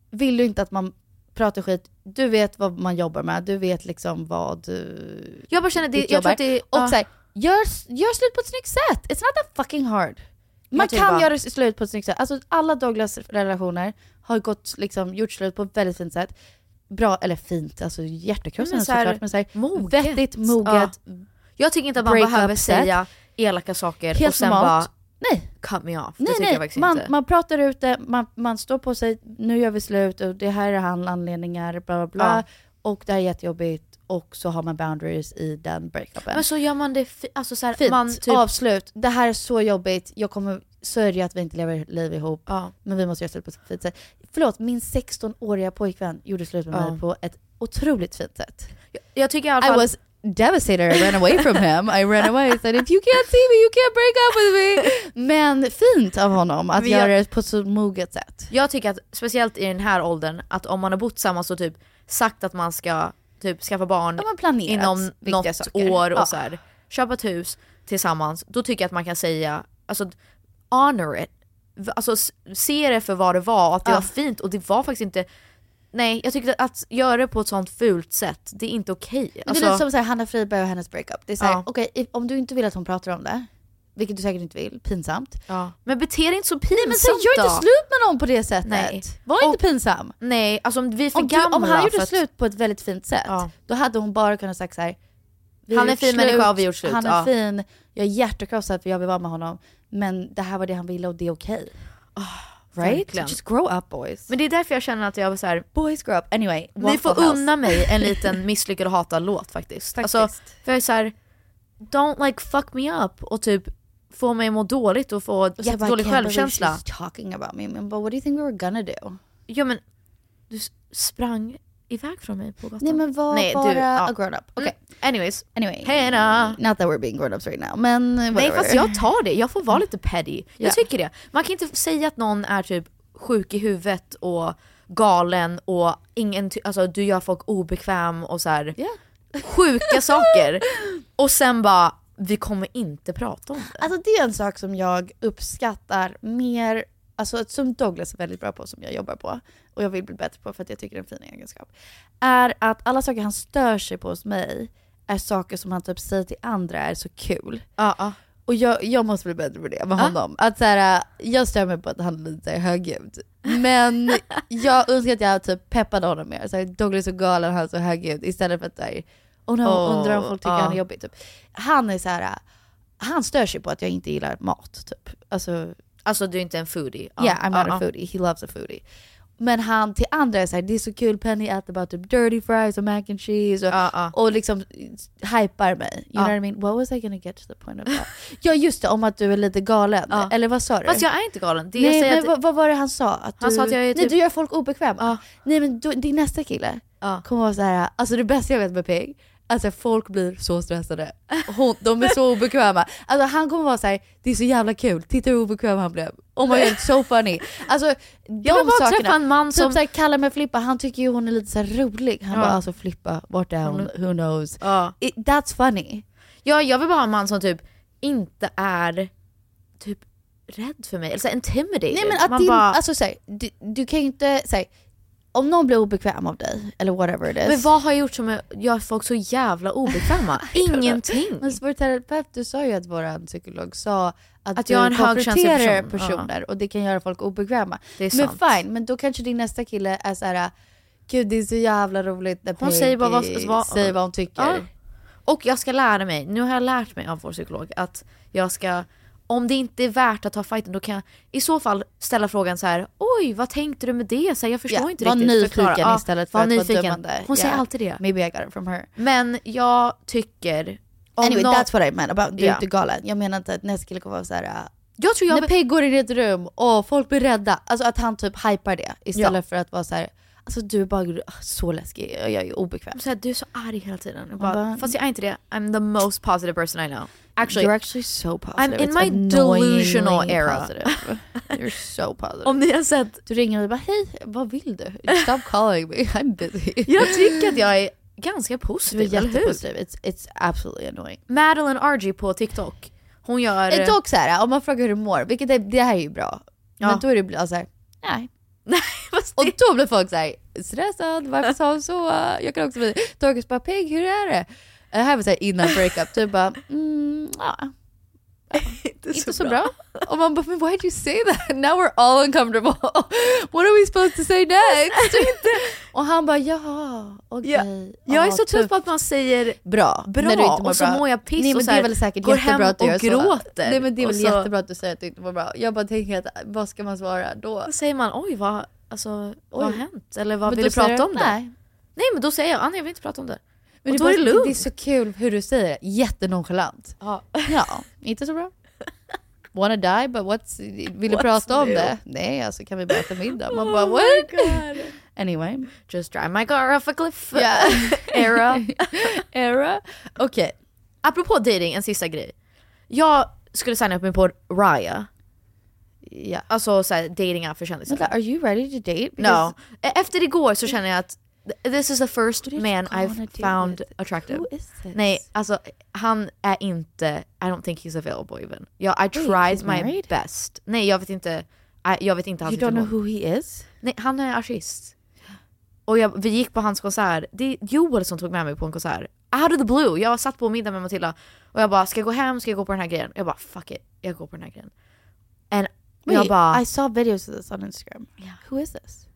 C: Vill du inte att man pratar skit, du vet vad man jobbar med, du vet liksom vad du
D: Jag bara känner, det,
C: ditt
D: jag
C: jobb
D: tror
C: är.
D: att det
C: Och
D: ja.
C: så här, gör, gör slut på ett snyggt sätt. It's not that fucking hard. Man
D: Jag tycker
C: kan
D: typ bara-
C: göra slut på ett snyggt sätt. Alltså alla Douglas relationer har gått, liksom, gjort slut på ett väldigt fint sätt. Bra, eller fint, alltså hjärtekrossande
D: Men så här,
C: såklart. Men så här, vettigt, moget.
D: Ja. Jag tycker inte att man
C: break-up
D: behöver
C: set.
D: säga elaka saker
C: Helt
D: och sen
C: normalt.
D: bara
C: Nej,
D: cut me off. det
C: nej,
D: tycker jag
C: nej.
D: faktiskt
C: Man,
D: inte.
C: man pratar ut det, man, man står på sig, nu gör vi slut och det här är han anledningar, bla bla bla.
D: Ja.
C: Och det här är jättejobbigt och så har man boundaries i den breakupen.
D: men så gör man det fi- alltså så här,
C: Fint,
D: man typ,
C: avslut. Det här är så jobbigt, jag kommer sörja att vi inte lever liv ihop.
D: Ja.
C: Men vi måste göra slut på ett fint sätt. Förlåt, min 16-åriga pojkvän gjorde slut med
D: Ja.
C: mig på ett otroligt fint sätt.
D: Jag tycker i alla
C: I
D: fall,
C: was devastated, I ran away from him. I ran away and said if you can't see me you can't break up with me. Men fint av honom att
D: Men jag-
C: göra det på så moget sätt.
D: jag tycker att speciellt i den här åldern, att om man har bott tillsammans och typ sagt att man ska typ skaffa barn
C: De har planerat
D: inom
C: viktiga
D: något
C: saker.
D: år och
C: Ja.
D: så här, köpa ett hus tillsammans, då tycker jag att man kan säga, alltså honor it. V- Alltså s- se det för vad det var och att det
C: Ja.
D: var fint och det var faktiskt inte Nej jag tyckte att göra det på ett sånt fult sätt, det är inte okej. Alltså,
C: Men det är lite som så här, Hanna Friberg och hennes breakup. Det är så här,
D: Ja.
C: okej if- om du inte vill att hon pratar om det, vilket du säkert inte vill, pinsamt.
D: ja. Men bete dig inte så pinsamt
C: Men så gör
D: då.
C: inte slut med någon på det sättet.
D: Nej.
C: Var inte pinsam.
D: Nej alltså om vi är för
C: Om, du,
D: gamla
C: om han
D: för
C: gjorde
D: att-
C: slut på ett väldigt fint sätt,
D: Ja.
C: då hade hon bara kunnat sagt så här. vi har
D: Han är
C: gjort
D: fin
C: slut,
D: människa, vi har gjort slut,
C: Han är
D: ja.
C: fin, jag är hjärtekrossad för jag vill vara med honom. Men det här var det han ville och det är okej. right?
D: verkligen.
C: Just grow up boys.
D: Men det är därför jag känner att jag var så här.
C: boys grow up. Anyway,
D: Ni får
C: Waffle House.
D: unna mig en liten misslyckad och hatad låt faktiskt. Alltså,
C: Faktiskt.
D: för jag är så här, don't like fuck me up och typ få mig att må dåligt och få
C: Och så Alltså, bara,
D: jättedålig
C: "I can't believe
D: självkänsla.
C: she's talking about me. Men bara, what do you think we were gonna do?
D: Ja men, du s- sprang iväg från mig på gatan.
C: Nej men var
D: Nej, du-
C: bara
D: ja.
C: a grown up. Okej,
D: Mm, anyways.
C: anyway.
D: Hena.
C: Not that we're being grown ups right now, men
D: Nej
C: whatever.
D: fast jag tar det, jag får vara lite petty. Jag
C: Ja.
D: tycker det. Man kan inte säga att någon är typ sjuk i huvudet och galen och ingen, ty- alltså du gör folk obekväm och så här.
C: Ja.
D: sjuka saker och sen bara vi kommer inte prata om det.
C: Alltså det är en sak som jag uppskattar mer, alltså som Douglas är väldigt bra på, som jag jobbar på och jag vill bli bättre på för att jag tycker det är en fin egenskap, är att alla saker han stör sig på hos mig är saker som han typ säger till andra är så kul. Och jag, jag måste bli bättre på det med honom. Att så här, jag stör mig på att han är lite så här högljudd. Men jag önskar att jag typ peppade honom mer. Så här, Douglas är så galen, han är så högljudd. Istället för att såhär, oh no,
D: Åh,
C: undrar om folk tycker
D: ja.
C: han är jobbig. Typ. Han är så här, han stör sig på att jag inte gillar mat. Typ. Alltså,
D: Alltså du är inte en foodie. Ja.
C: Yeah, I'm not
D: Ja,
C: a
D: ja.
C: foodie. He loves a foodie. Men han till andra är såhär, det är så kul, Penny äter bara typ dirty fries och mac and cheese och,
D: Ja, ja.
C: och liksom hypar mig. You know what I mean? What was I gonna get to the point of that? ja just det, om att du är lite galen.
D: Ja.
C: Eller vad sa du?
D: Fast jag är inte galen. Det
C: Nej
D: jag
C: men
D: säger att,
C: vad, vad var det han sa? Att
D: Han
C: du,
D: sa att jag är
C: Nej
D: typ-
C: du gör folk obekväma.
D: Ja.
C: Nej men du, din nästa kille
D: Ja.
C: kommer vara såhär, alltså det bästa jag vet med Peg, alltså folk blir så stressade. Hon, de är så obekväma. Alltså han kommer vara såhär, det är så jävla kul, titta hur obekväm han blev. Oh my god, so funny. Alltså de
D: jag vill bara
C: sakerna.
D: träffa en man
C: Typ
D: som...
C: såhär Kalle med Flippa, han tycker ju hon är lite såhär rolig. Han
D: Ja.
C: bara alltså Flippa, vart är hon? Who knows?
D: Ja.
C: It, that's funny.
D: Ja, jag vill bara ha en man som typ inte är typ rädd för mig. Alltså, Eller så här, intimidated.
C: Nej men att
D: Man
C: din,
D: bara,
C: alltså såhär, du, du kan ju inte, såhär, om någon blir obekväm av dig, eller whatever it is.
D: men vad har jag gjort som är- gör folk så jävla obekväma? Ingenting.
C: Men vår terapeut, du sa ju att vår psykolog sa att,
D: Att
C: du
D: jag är en högkänslig
C: konfronterar
D: person.
C: personer och det kan göra folk obekväma.
D: Det är
C: men
D: sant.
C: fine, men då kanske din nästa kille är så här. gud det är så jävla roligt när
D: Hon
C: Peggy
D: säger bara vad- vad-
C: säger vad hon tycker.
D: Ja. Och jag ska lära mig, nu har jag lärt mig av vår psykolog att jag ska om det inte är värt att ta fighten då kan jag i så fall ställa frågan så här: oj vad tänkte du med det? Så här, jag förstår
C: Ja,
D: inte
C: var
D: riktigt.
C: nyfiken
D: Förklara. Ja,
C: istället för
D: var
C: att vara
D: nyfiken.
C: dömande.
D: Hon säger
C: Ja.
D: alltid det.
C: Maybe I got it from her.
D: Men jag tycker... om
C: Anyway,
D: någon-
C: that's what I meant about, du är
D: Ja.
C: inte galen. Jag menar inte att nästa kille kommer vara såhär, uh,
D: Jag tror jag
C: när Peg går in i ett rum och folk blir rädda. Alltså att han typ hypar det istället för att vara såhär, alltså du är bara ah, så läskig och jag är obekväm.
D: Så här, du är så arg hela tiden. Jag
C: Man
D: bara,
C: bara-
D: Fast jag är inte det. I'm the most positive person I know. Actually,
C: You're actually so positive.
D: I'm in
C: It's
D: my
C: annoyingly
D: delusional era.
C: positive. You're so positive.
D: Om ni har sett...
C: Du ringer och du bara hej, vad vill du? Stop calling me, I'm busy.
D: Jag tycker att jag är
C: Du
D: ganska
C: är
D: positiv, eller hur?
C: jättepositiv, it's, it's absolutely annoying.
D: Madeline Argy på TikTok, hon gör...
C: Det är dock såhär, om man frågar hur du mår, vilket är, det här är ju bra. Men då är det ibland såhär, nej. och då blir folk såhär, stressad, varför sa hon så? Jag kan också bli tokig, bara Peg hur är det? Det här var såhär innan breakup, typ bara, mm, ja. inte, så, bra. Och man bara, men why do you say that? Now we're all uncomfortable. What are we supposed to say next? och han bara, jaha, okej.
D: Alltså, Ja. Jag är
C: ja,
D: så trött
C: tufft."
D: på att man säger
C: bra,
D: bra
C: när du inte mår
D: och så
C: bra.
D: mår jag piss
C: Nej, men
D: och så
C: det
D: här,
C: är väl säkert
D: går
C: jättebra
D: hem
C: att du
D: och
C: gör så.
D: gråter.
C: Nej men det är
D: Och
C: väl
D: så-
C: jättebra att du säger att du inte mår bra. Jag bara tänker att vad ska man svara då?
D: Då säger man oj vad, alltså, vad har
C: Oj.
D: hänt? Eller vad
C: Men
D: vill
C: då
D: du
C: säger
D: prata
C: du,
D: om det?
C: nej.
D: Nej men då säger jag, ah, nej jag vill inte prata om det.
C: Men
D: och
C: det,
D: då är det
C: bara,
D: lugnt.
C: det är så kul hur du säger det, jättenonchalant.
D: Ja.
C: Ja, inte så bra. Wanna die but what's, vill du
D: What's
C: prata om
D: new? Oh
C: det? Nej alltså kan vi bara äta middag? Man bara
D: my
C: what?
D: God.
C: Anyway.
D: Just drive my car off a cliff.
C: Ja.
D: Era.
C: Era.
D: Okej, apropå dating, en sista grej. Jag skulle signa upp mig på Raya.
C: Ja.
D: Alltså såhär datingapp för kändisar.
C: Vänta, are you ready to date?
D: No. E- Efter igår så känner jag att th- this is the first man
C: gonna
D: I've
C: do
D: found
C: with-
D: attractive.
C: Who is this?
D: Nej, alltså han är inte, I don't think he's available even. Ja, I
C: he's
D: tried my
C: married?
D: best. Nej jag vet inte, I, jag vet inte hans
C: You don't know
D: situation.
C: who he is?
D: Nej han är artist. Och jag, vi gick på hans konsert, det är Joel som tog med mig på en konsert. Out of the blue, jag satt på middag med Matilda och jag bara ska jag gå hem, ska jag gå på den här grejen? Jag bara fuck it, jag går på den här grejen. And jag
C: Wait,
D: bara,
C: I saw videos of this on Instagram. Who is this?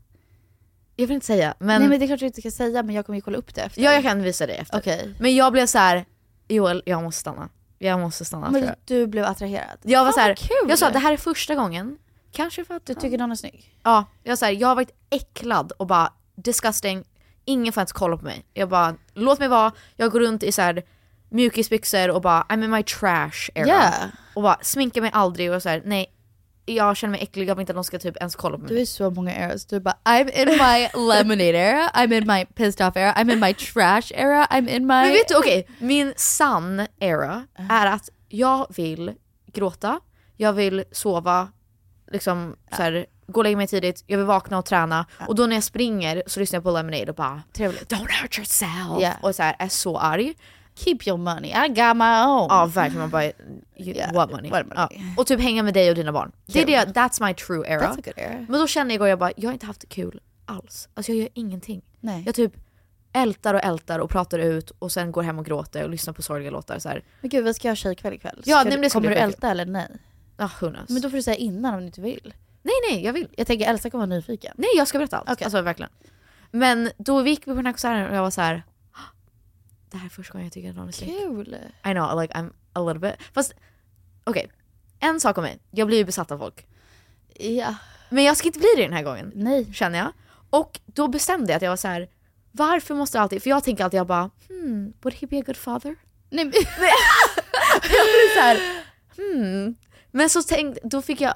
D: jag vill inte säga men,
C: Nej men det kanske du inte ska säga men jag kommer ju kolla upp det efter.
D: Um, ja jag kan visa dig efter.
C: Okej.
D: Men jag blev så här: Joel jag måste stanna. Jag måste stanna. tror
C: Men
D: jag.
C: du blev attraherad?
D: Jag var
C: Fan,
D: så här,
C: vad kul!
D: jag sa det här är första gången. Kanske för att
C: Du tycker någon är snygg?
D: Ja, jag så här, jag har varit äcklad och bara disgusting. Ingen får ens kolla på mig. Jag bara låt mig vara. Jag går runt i så här mjukisbyxor och bara I'm in my trash era.
C: Yeah.
D: Och bara sminkar mig aldrig och så här nej. Jag känner mig äcklig, jag vill inte att någon ska typ ens kolla på mig.
C: Du är så många eras. Du bara I'm in my lemonade era, I'm in my pissed off era, I'm in my trash era, I'm in my...
D: Men vet du, okej, min sann era är att jag vill gråta, jag vill sova, liksom så här, gå och lägga mig tidigt, jag vill vakna och träna. Och då när jag springer så lyssnar jag på Lemonade och bara
C: Trevligt.
D: “Don't hurt yourself”
C: Ja.
D: och så här, är så arg.
C: Keep your money, I got my own.
D: Ja verkligen, man bara you,
C: Yeah,
D: “What money?”
C: what money.
D: Ja. Och typ hänga med dig och dina barn. Det är
C: Kul.
D: det, that's my true era.
C: That's a good era.
D: Men då kände jag igår, jag bara, jag har inte haft kul alls. Alltså jag gör ingenting.
C: Nej.
D: Jag typ ältar och ältar och pratar ut och sen går hem och gråter och lyssnar på sorgliga låtar så här.
C: Men gud vi ska ha tjejkväll ikväll. Ska
D: Ja, nej,
C: du-
D: men det ska
C: kommer
D: bli
C: du
D: skitkul.
C: älta eller nej?
D: Ja, Ah, who knows.
C: Men då får du säga innan om du inte vill.
D: Nej nej, jag vill.
C: Jag tänker Elsa kommer vara nyfiken.
D: Nej jag ska berätta allt.
C: Okej.
D: Alltså verkligen. Men då gick vi på den här konserten och jag var så här. "Ah, Det här är första gången jag tycker att någon är snygg.
C: Kul!
D: I know, like I'm a little bit. Fast okej, en sak om mig. Jag blir ju besatt av folk.
C: Ja.
D: Men jag ska inte bli det den här gången.
C: Nej.
D: Känner jag. Och då bestämde jag att jag var så här. Varför måste jag alltid, för jag tänker alltid jag bara hmm, would he be a good father?
C: Nej men...
D: så här, hmm. Men så tänkte, då fick jag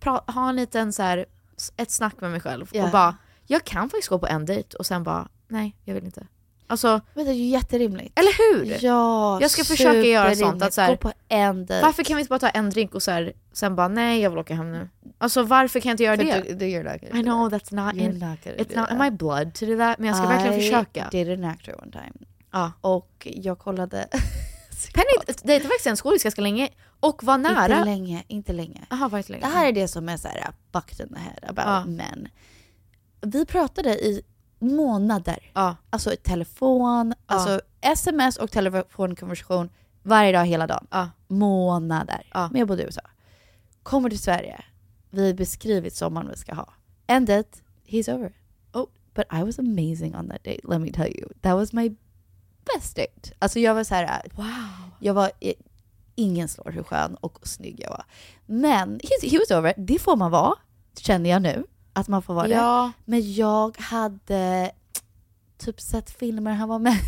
D: pra- ha en liten så här, s- ett snack med mig själv
C: Ja.
D: och bara, jag kan faktiskt gå på en dejt och sen bara, nej jag vill inte. Alltså,
C: Men det är ju jätterimligt.
D: eller hur?
C: Ja,
D: Jag ska försöka göra sånt,
C: superrimligt.
D: att så här-
C: Gå på en dejt.
D: Varför kan vi inte bara ta en drink och så här, sen bara, nej jag vill åka hem nu. Alltså varför kan jag inte göra
C: För
D: det?
C: du- du- you're not gonna
D: I
C: do
D: know
C: that.
D: that's not
C: You're
D: in,
C: not gonna do
D: it's not in
C: that.
D: my blood to do that, men jag ska verkligen försöka.
C: I did an actor one time.
D: Ja.
C: Och jag kollade...
D: Penny dejtade faktiskt en skådis ganska länge och var
C: Inte
D: nära.
C: länge, inte länge.
D: Jaha, var det länge?
C: Det här är det som är så här uh, fucked in the head about
D: liksom. Ja.
C: men. Vi pratade i månader.
D: Ja.
C: Alltså i telefon, alltså sms och telefonkonversation varje dag hela dagen.
D: Ja.
C: Månader.
D: Ja.
C: Men jag bodde i USA. Kommer till Sverige. Vi har beskrivit sommaren vi ska ha. And it, he's over. Oh, but I was amazing on that date, let me tell you. That was my best date. Alltså jag var så här,
D: Wow.
C: jag var i- ingen slår hur skön och snygg jag var. Men he, he was over, det får man vara, känner jag nu. Att man får vara
F: Ja.
C: det. Men jag hade typ sett filmer han var med i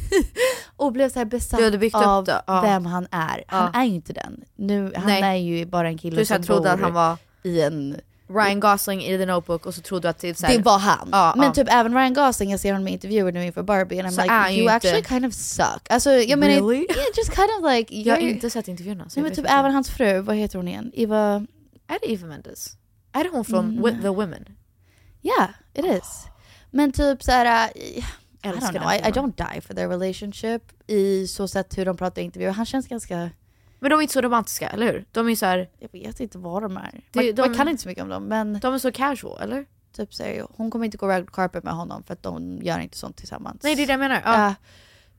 C: och blev så här besatt
F: Du hade byggt upp
C: av
F: det, ja.
C: vem han är. Han
F: Ja.
C: är ju inte den. Nu, han
F: Nej.
C: är ju bara en kille
D: Du så
C: som
D: här trodde
C: bor
D: att han var
C: i en...
D: Ryan Gosling i The Notebook och så trodde du att typ så här,
C: det var han.
D: Ja,
C: men
D: ja.
C: typ även Ryan Gosling, jag ser honom i intervjuer nu inför Barbie and I'm
D: Så är han
C: like
D: ju
C: you
D: inte-
C: actually kind of suck. Alltså jag menar,
D: Really?
C: yeah, just kind of like...
D: Jag har
C: you're-
D: inte sett intervjuerna. så
C: Nej
D: jag
C: men
D: vet
C: typ
D: inte.
C: även hans fru, vad heter hon igen? Eva...
D: Är det Eva Mendes? Är det hon från
C: Mm.
D: With the Women?
C: Yeah, it is. Men typ såhär, eh, I
D: Ah. Älskar
C: don't
D: den
C: know, I, I
D: filmen.
C: don't die for their relationship i så sätt hur de pratar i intervjuer. Han känns ganska...
D: Men de är inte så romantiska, eller hur? De är ju såhär...
C: Jag vet inte vad de är.
D: Det-
C: man,
D: de-
C: man kan inte så mycket om dem men...
D: De är så casual, eller?
C: Typ såhär, hon kommer inte gå red carpet med honom för att de gör inte sånt tillsammans.
D: Nej det är det jag menar. Ja.
C: Ja.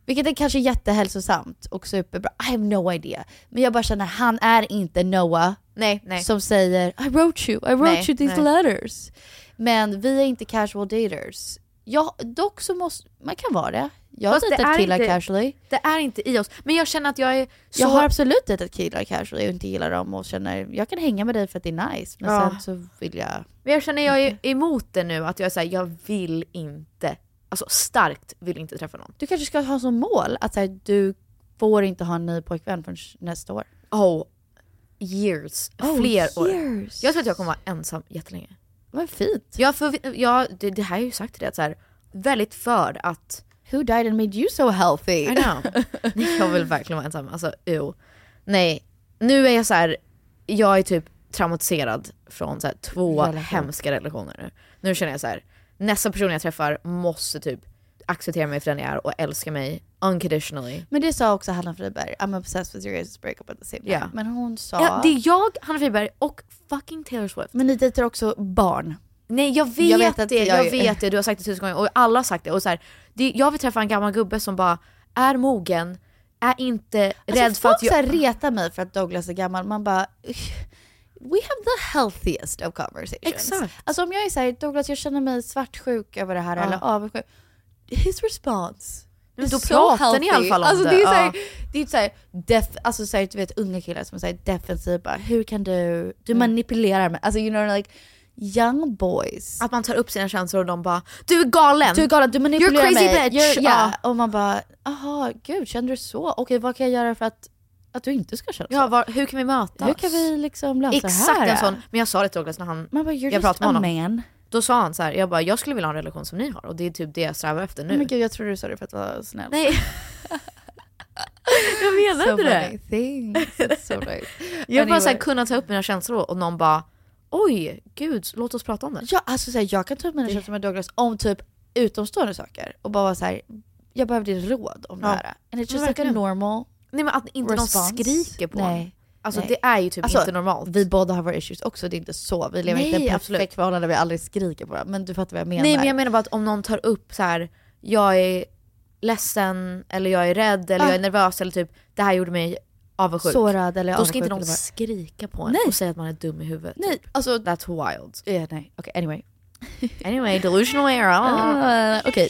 C: Vilket är kanske jättehälsosamt och superbra. I have no idea. Men jag bara känner, han är inte Noah
D: Nej, nej.
C: som säger I wrote you, I wrote
D: Nej,
C: you these
D: nej.
C: letters. Men vi är inte casual daters. Ja, dock så måste, man kan vara det. Jag har
D: Fast det
C: dejtat
D: är
C: killar
D: inte-
C: casually.
D: Det är inte i oss. Men jag känner att jag är så...
C: Jag har absolut dejtat killar casually och inte gillar dem och känner jag kan hänga med dig för att det är nice. Men
D: Ja.
C: sen så vill jag...
D: Men jag känner jag är emot det nu, att jag är såhär, jag vill inte, alltså starkt vill inte träffa någon.
C: Du kanske ska ha som mål att så här, du får inte ha en ny pojkvän förrän nästa år.
D: Oh, years. Fler år.
C: Oh, years.
D: Jag tror att jag kommer vara ensam jättelänge.
C: Vad fint.
D: Jag, för, jag det, det här har jag ju sagt till dig, att så här, väldigt för att
C: Who died and made you so healthy?
D: I know. Nej, jag vill verkligen vara ensam. Alltså, ew. Nej, nu är jag så här. jag är typ traumatiserad från så här, två
C: Relation.
D: hemska relationer nu. Nu känner jag så här. nästa person jag träffar måste typ acceptera mig för den jag är och älska mig unconditionally.
C: Men det sa också Hanna Friberg, I'm obsessed with your guys' breakup at the same time.
D: Ja.
C: Men hon sa...
D: Ja, det är jag, Hanna Friberg och fucking Taylor Swift.
C: Men ni dejtar också barn.
D: Nej jag vet,
C: Jag vet att
D: det,
C: jag-
D: jag vet det, du har sagt det tusen gånger och alla har sagt det. Och så här, det jag vill träffa en gammal gubbe som bara är mogen, är inte rädd
C: alltså,
D: för
C: folk
D: att jag...
C: så här retar mig för att Douglas är gammal. Man bara... We have the healthiest of conversations.
D: Exakt.
C: Alltså om jag är såhär, Douglas jag känner mig svartsjuk över det här
D: Ja.
C: eller avundsjuk. His response.
D: Men
C: is
D: då
C: so
D: pratar ni i alla
C: healthy.
D: fall om
C: alltså,
D: det.
C: det. Är så
D: Ja.
C: här, det är så här, def, alltså så här, du vet unga killar som säger defensiv bara, hur kan du, du manipulerar mig. Alltså you know like young boys.
D: Att man tar upp sina känslor och de bara Du är galen!
C: Du är galen, du manipulerar
D: You're a crazy
C: mig.
D: bitch!
C: You're- ja.
D: Ja.
C: Och man bara, aha, gud känner du så? Okej vad kan jag göra för att, att du inte ska känna så?
D: Ja, var, hur kan vi mötas?
C: Hur kan vi liksom lösa
D: Exakt
C: det här?
D: en sån, men jag sa det till Douglas när han,
C: Man bara, you're
D: jag
C: just
D: pratade
C: a
D: med honom.
C: man.
D: Då sa han så här, jag bara jag skulle vilja ha en relation som ni har och det är typ det jag strävar efter nu.
C: Men gud, Oh jag tror du sa det för att vara snäll.
D: Nej. jag menar
C: so
D: inte
C: many
D: det.
C: things. It's so nice.
D: Jag vill bara så här,
C: Anyway.
D: kunna ta upp mina känslor och någon bara oj gud låt oss prata om det.
C: Ja, alltså så här, jag kan ta upp mina känslor med Douglas om typ utomstående saker och bara vara så här, jag behöver ditt råd om det
D: Ja.
C: här. And it's
D: Men
C: just like a
D: verkligen.
C: normal
D: Nej men att inte
C: response.
D: någon skriker på en.
C: Nej.
D: Alltså
C: nej.
D: det är ju typ
C: Alltså,
D: inte normalt.
C: Vi båda har våra issues också, det är inte så. Vi lever
D: Nej,
C: inte i ett
D: absolut.
C: perfekt förhållande där vi aldrig skriker på varandra. Men du fattar vad jag menar.
D: Nej men jag menar bara att om någon tar upp så här, jag är ledsen eller jag är rädd eller
C: Ah.
D: jag är nervös eller typ det här gjorde mig avundsjuk.
C: Sårad eller
D: Då ska inte
C: avundsjuk
D: någon
C: eller vad-
D: skrika på en
C: Nej.
D: och säga att man är dum i huvudet.
C: Nej,
D: typ.
C: alltså...
D: That's wild.
C: Ja, nej, okej anyway.
D: Anyway, delusional era.
C: Ah, Okej.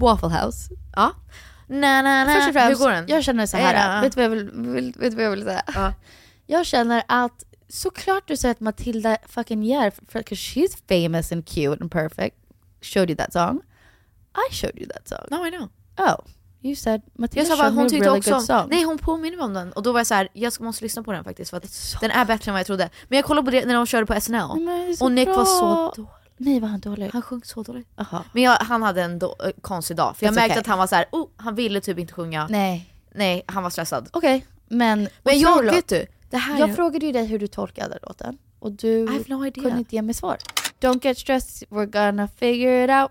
C: Waffle House.
D: Ja. Na, na, na.
C: Först och främst,
D: hur går den?
C: jag känner så
D: Är det,
C: här.
D: ja.
C: Vet du vad jag vill, vill, vet du vad jag vill säga? Jag känner att såklart du säger att Matilda fucking yeah, for, 'cause she's famous and cute and perfect. Showed you that song. I showed you that song.
D: No, I know.
C: Oh, you said Matilda
D: Jag sa bara,
C: showed me
D: hon
C: a
D: tyckte
C: really good
D: också
C: song.
D: om, nej hon påminner mig om den och då var jag så här, jag ska- måste lyssna på den faktiskt för att den är bättre än vad jag trodde. Men jag kollade på det när de körde på SNL
C: det är Mm, så
D: och Nick
C: bra.
D: var så dålig.
C: Nej, var han dålig?
D: Han sjöng så dåligt.
C: Aha.
D: Men jag, han hade en då, eh, konstig dag för jag
C: It's
D: märkte
C: okay.
D: att han var så här, oh, han ville typ inte sjunga.
C: Nej.
D: Nej, han var stressad.
C: Okej, men...
D: Men
C: Och
D: jag,
C: förlåt.
D: vet du, det här
C: Jag frågade ju dig hur du tolkade låten och du
D: I have no idea.
C: kunde inte ge mig svar. Don't get stressed, we're gonna figure it out.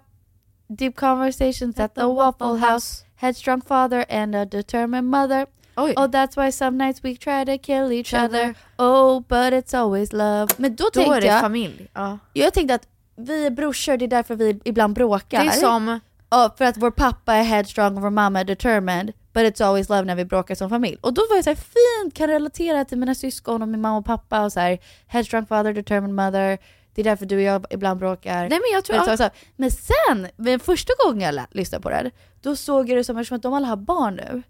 C: Deep conversations at the Waffle House. Headstrong father and a determined mother.
D: Oj.
C: Oh that's why some nights we try to kill each other. Oh but it's always love. Men då,
D: då
C: tänkte
D: är det
C: jag,
D: familj. Ja.
C: jag tänkte att vi är brorsor, det är därför vi ibland
D: Det
C: bråkar.
D: är som,
C: Ja, för att vår pappa är headstrong och vår mamma är determined. But it's always love när vi bråkar som familj. Och då var jag så här, fint, kan relatera till mina syskon och min mamma och pappa och så här, headstrong father, determined mother. Det är därför du och jag ibland bråkar.
D: nej men jag tror,
C: But it's always love. Men sen, men första gången jag lä- lyssnade på det, då såg jag det som, eftersom att de alla har barn nu,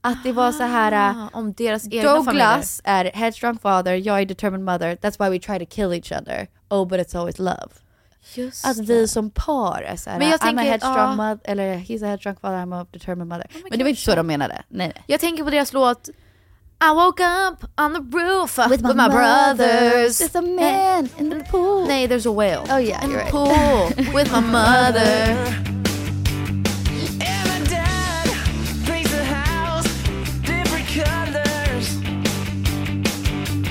C: att det var så här... äh,
D: ah, om deras egna familjer.
C: Douglas är headstrong father, jag är determined mother, that's why we try to kill each other. Oh but it's always love.
D: Just
C: Att vi som par är såhär,
D: Men jag
C: I'm a
D: tänker,
C: headstrong
D: ja.
C: mother, eller he's a headstrong father, I'm a determined mother.
D: my
C: men det var inte så
D: gosh.
C: de menade. Nej, nej.
D: Jag tänker på deras låt I woke up on the roof with, my, brothers.
C: brothers, There's a man in the pool.
D: Nej, there's a whale.
C: Oh yeah,
D: in
C: you're
D: the
C: right.
D: pool with my mother.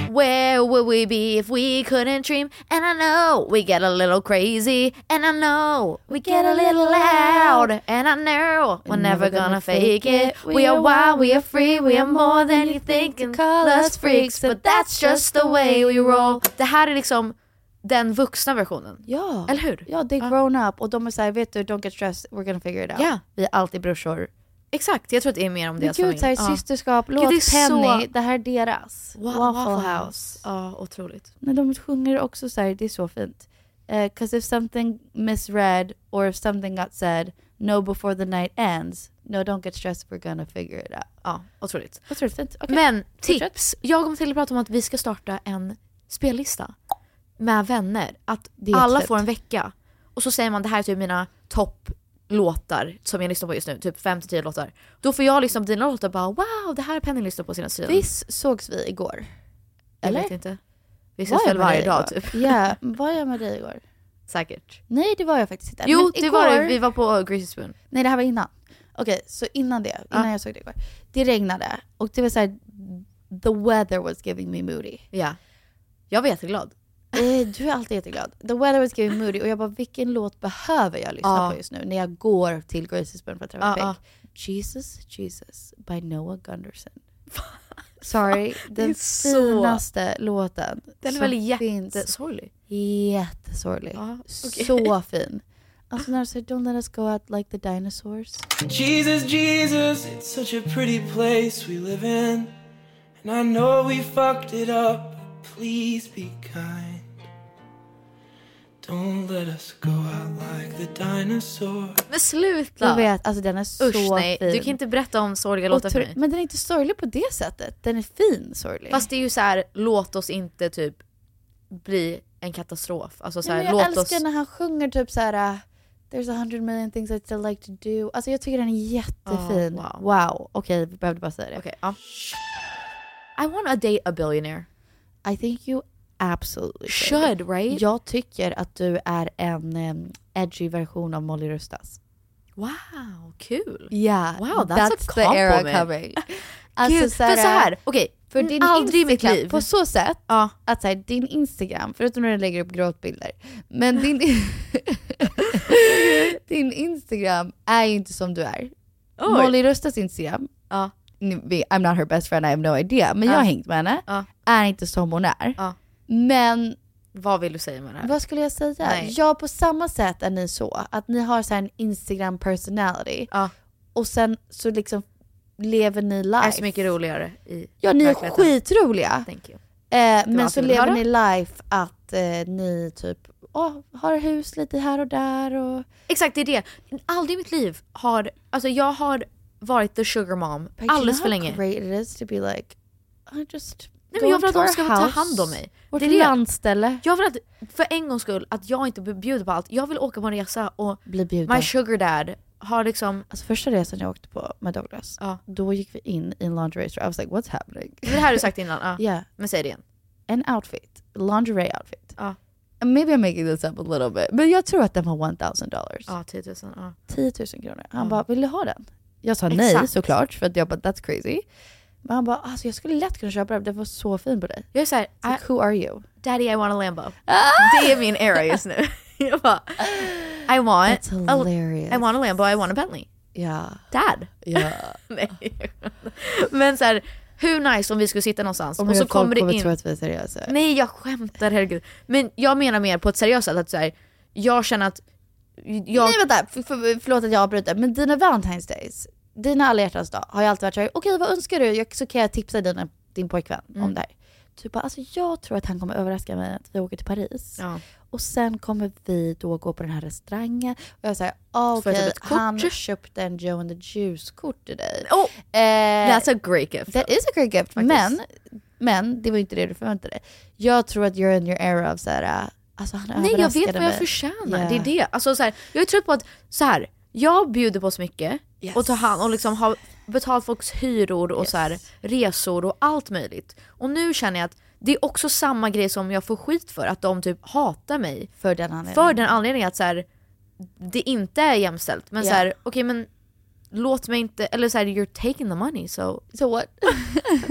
D: Where would we be if we couldn't dream? And I know we get a little crazy. And I know we get a little loud. And I know we're never gonna fake it. We are wild, we are free, we are more than you think and call us freaks. But that's just the way we roll. Det här är liksom den vuxna versionen.
C: Ja.
D: Eller hur?
C: Ja, det är grown up och de är såhär, vet du, don't get stressed, we're gonna figure it out.
D: Ja.
C: Vi är alltid brorsor.
D: Exakt, jag tror att det är mer om
C: Det är
D: deras
C: kul, såhär,
D: Ja.
C: systerskap,
D: Gud, det är
C: låt Penny,
D: så-
C: det här är deras.
D: Wa- Waffle House. Ja, otroligt.
C: Men de sjunger också så här, det är så fint. Because if something misread or if something got said, no before the night ends, no don't get stressed, we're gonna figure it out.
D: Ja, otroligt.
C: Vad tror du? Fint. Okej.
D: Men
C: fortsätt.
D: tips. Jag och Matilda pratade om att vi ska starta en spellista med vänner. Att
C: Det är
D: alla
C: jättefett.
D: får en vecka. Och så säger man det här är typ mina topplåtar som jag lyssnar på just nu. Typ 5-10 låtar. Då får jag lyssna på dina låtar och bara wow, det här är Penny lyssnar på sina sidan.
C: Visst sågs vi igår?
D: eller?
C: eller?
D: Jag vet inte. Vi
C: Var
D: ses
C: jag
D: väl
C: med
D: varje
C: dig
D: dag
C: igår?
D: typ.
C: Ja, var jag med dig igår?
D: Säkert.
C: Nej det var jag faktiskt inte.
D: Jo,
C: Men
D: det var det. Vi var på Greasy Spoon.
C: Nej det här var innan. Okej, så innan det, innan
D: Ja.
C: jag såg det igår. Det regnade och det var så här, the weather was giving me moody.
D: Ja. Jag var jätteglad.
C: Eh, du är alltid jätteglad. The weather was giving moody och jag bara vilken låt behöver jag lyssna
D: Ja.
C: på just nu när jag går till Gracies Burn för att träffa
D: Ja,
C: Peg?
D: ja.
C: Jesus Jesus by Noah Gunderson. Sorry, den
D: så-
C: finaste låten.
D: Den är
C: som
D: väl
C: finns.
D: jättesorglig?
C: Jättesorglig.
D: okej.
C: Så fin. Alltså när du säger Don't let us go out like the dinosaurs.
I: Jesus, Jesus, it's such a pretty place we live in. And I know we fucked it up, but please be kind. Don't let us go out like the dinosaurs.
D: Men sluta!
C: Jag vet, alltså den är så
D: Usch nej,
C: fin.
D: du kan inte berätta om sorgliga låtar för
C: Otro-
D: mig.
C: Men den är inte sorglig på det sättet. Den är fin sorglig.
D: Fast det är ju så här, låt oss inte typ bli en katastrof. Alltså så
C: Nej,
D: här,
C: men jag
D: låt
C: älskar
D: oss...
C: när han sjunger typ så här. There's a hundred million things I'd still like to do. Alltså jag tycker den är jättefin.
D: Ja,
C: wow. Okej, vi behövde bara säga det.
D: Okej, ja. I wanna date a billionaire.
C: I think you absolutely
D: Should, right?
C: Jag tycker att du är en em, edgy version av Molly Rustas.
D: Wow, kul!
C: Yeah,
D: wow, that's, a
C: the era
D: compliment.
C: coming.
D: Gud, men så här, okej,
C: Alltså, för din
D: aldrig i mitt
C: Instagram,
D: liv.
C: På så sätt att så här, din Instagram, förutom när du lägger upp gråtbilder, men din, din Instagram är ju inte som du är.
D: Oj.
C: Molly Rustas Instagram, ni vet, I'm not her best friend, I have no idea, men jag
D: Ja.
C: har hängt med henne, är inte som hon är. Men
D: Vad vill du säga med det här?
C: vad skulle jag säga?
D: Nej.
C: Ja, på samma sätt är ni så. Att ni har så här en Instagram personality. Och sen så liksom lever ni life.
D: är så mycket roligare i
C: Ja, ni är
D: verkligheten.
C: skitroliga.
D: Thank you.
C: Eh, men
D: allt
C: så
D: jag ville
C: lever
D: höra.
C: ni life att eh, ni typ åh, har hus lite här och där och...
D: Exakt, det är det. Aldrig i mitt liv har, alltså jag har varit the sugar mom
C: But you know
D: alldeles för
C: how
D: länge.
C: great it is to be like, I just
D: Nej,
C: go
D: men jag vill
C: to
D: att de
C: our
D: ska ta
C: house,
D: hand om mig.
C: Vårt
D: Det är det.
C: landställe.
D: Jag vill att, för en gångs skull, att jag inte blir bjuden på allt. Jag vill åka på en resa och
C: Bli bjuden.
D: my sugar dad har liksom...
C: Alltså första resan jag åkte på med Douglas, då gick vi in i en lingerie store. I was like what's happening?
D: Det här har du sagt innan, ja.
C: Yeah.
D: men säg det igen.
C: An outfit, lingerie outfit.
D: Ja.
C: And Maybe I'm making this up a little bit. Men jag tror att den var $1000.
D: Ja, 10 000. Ja.
C: 10 000 kronor. Han
D: Ja.
C: bara, vill du ha den? Jag sa nej
D: Exakt.
C: såklart, för att jag bara that's crazy. Men han bara, alltså jag skulle lätt kunna köpa den, den var så fin på dig.
D: Jag är såhär,
C: It's Like, who are you?
D: daddy I want a Lambo. Det är min era just nu. jag bara, I want,
C: That's
D: a,
C: hilarious.
D: I want a Lambo, I want a Bentley.
C: Ja.
D: Dad.
C: Ja.
D: Nej. Men så här, hur nice om vi skulle sitta någonstans
C: Om
D: och så
C: folk kommer
D: kommer det in...
C: tro att vi är seriösa.
D: Nej jag skämtar herregud. Men jag menar mer på ett seriöst sätt att så här, jag känner att jag...
C: Nej vänta, för, för, förlåt att jag avbryter. Men dina Valentine's Days, dina alla hjärtans dag, har jag alltid varit såhär, okej vad önskar du? Jag, så kan jag tipsa dina, din pojkvän
D: Mm.
C: om det här. Typ bara, alltså jag tror att han kommer överraska mig att vi åker till Paris.
D: Ja.
C: Och sen kommer vi då gå på den här restaurangen. Och jag säger, ah,
D: Får jag
C: okej,
D: typ ett kort?
C: han köpte en Joe and the Juice-kort till dig.
D: Oh,
C: Eh,
D: that's a great gift.
C: That is a great gift.
D: Faktiskt.
C: Men, men det var inte det du förväntade dig. Jag tror att you're in your era av såhär, alltså han
D: Nej jag
C: överraskade
D: vet vad
C: mig.
D: jag förtjänar,
C: Yeah.
D: det är det. Alltså, så här, jag är trött på att så här, jag bjuder på så mycket och tar hand och liksom har betalt folks hyror och så här, resor och allt möjligt. Och nu känner jag att det är också samma grej som jag får skit för, att de typ hatar mig.
C: För den anledningen.
D: För den anledningen att så här, det inte är jämställt. Men så
C: Ja.
D: här, okej men låt mig inte, eller så här, you're taking the money so...
C: So what?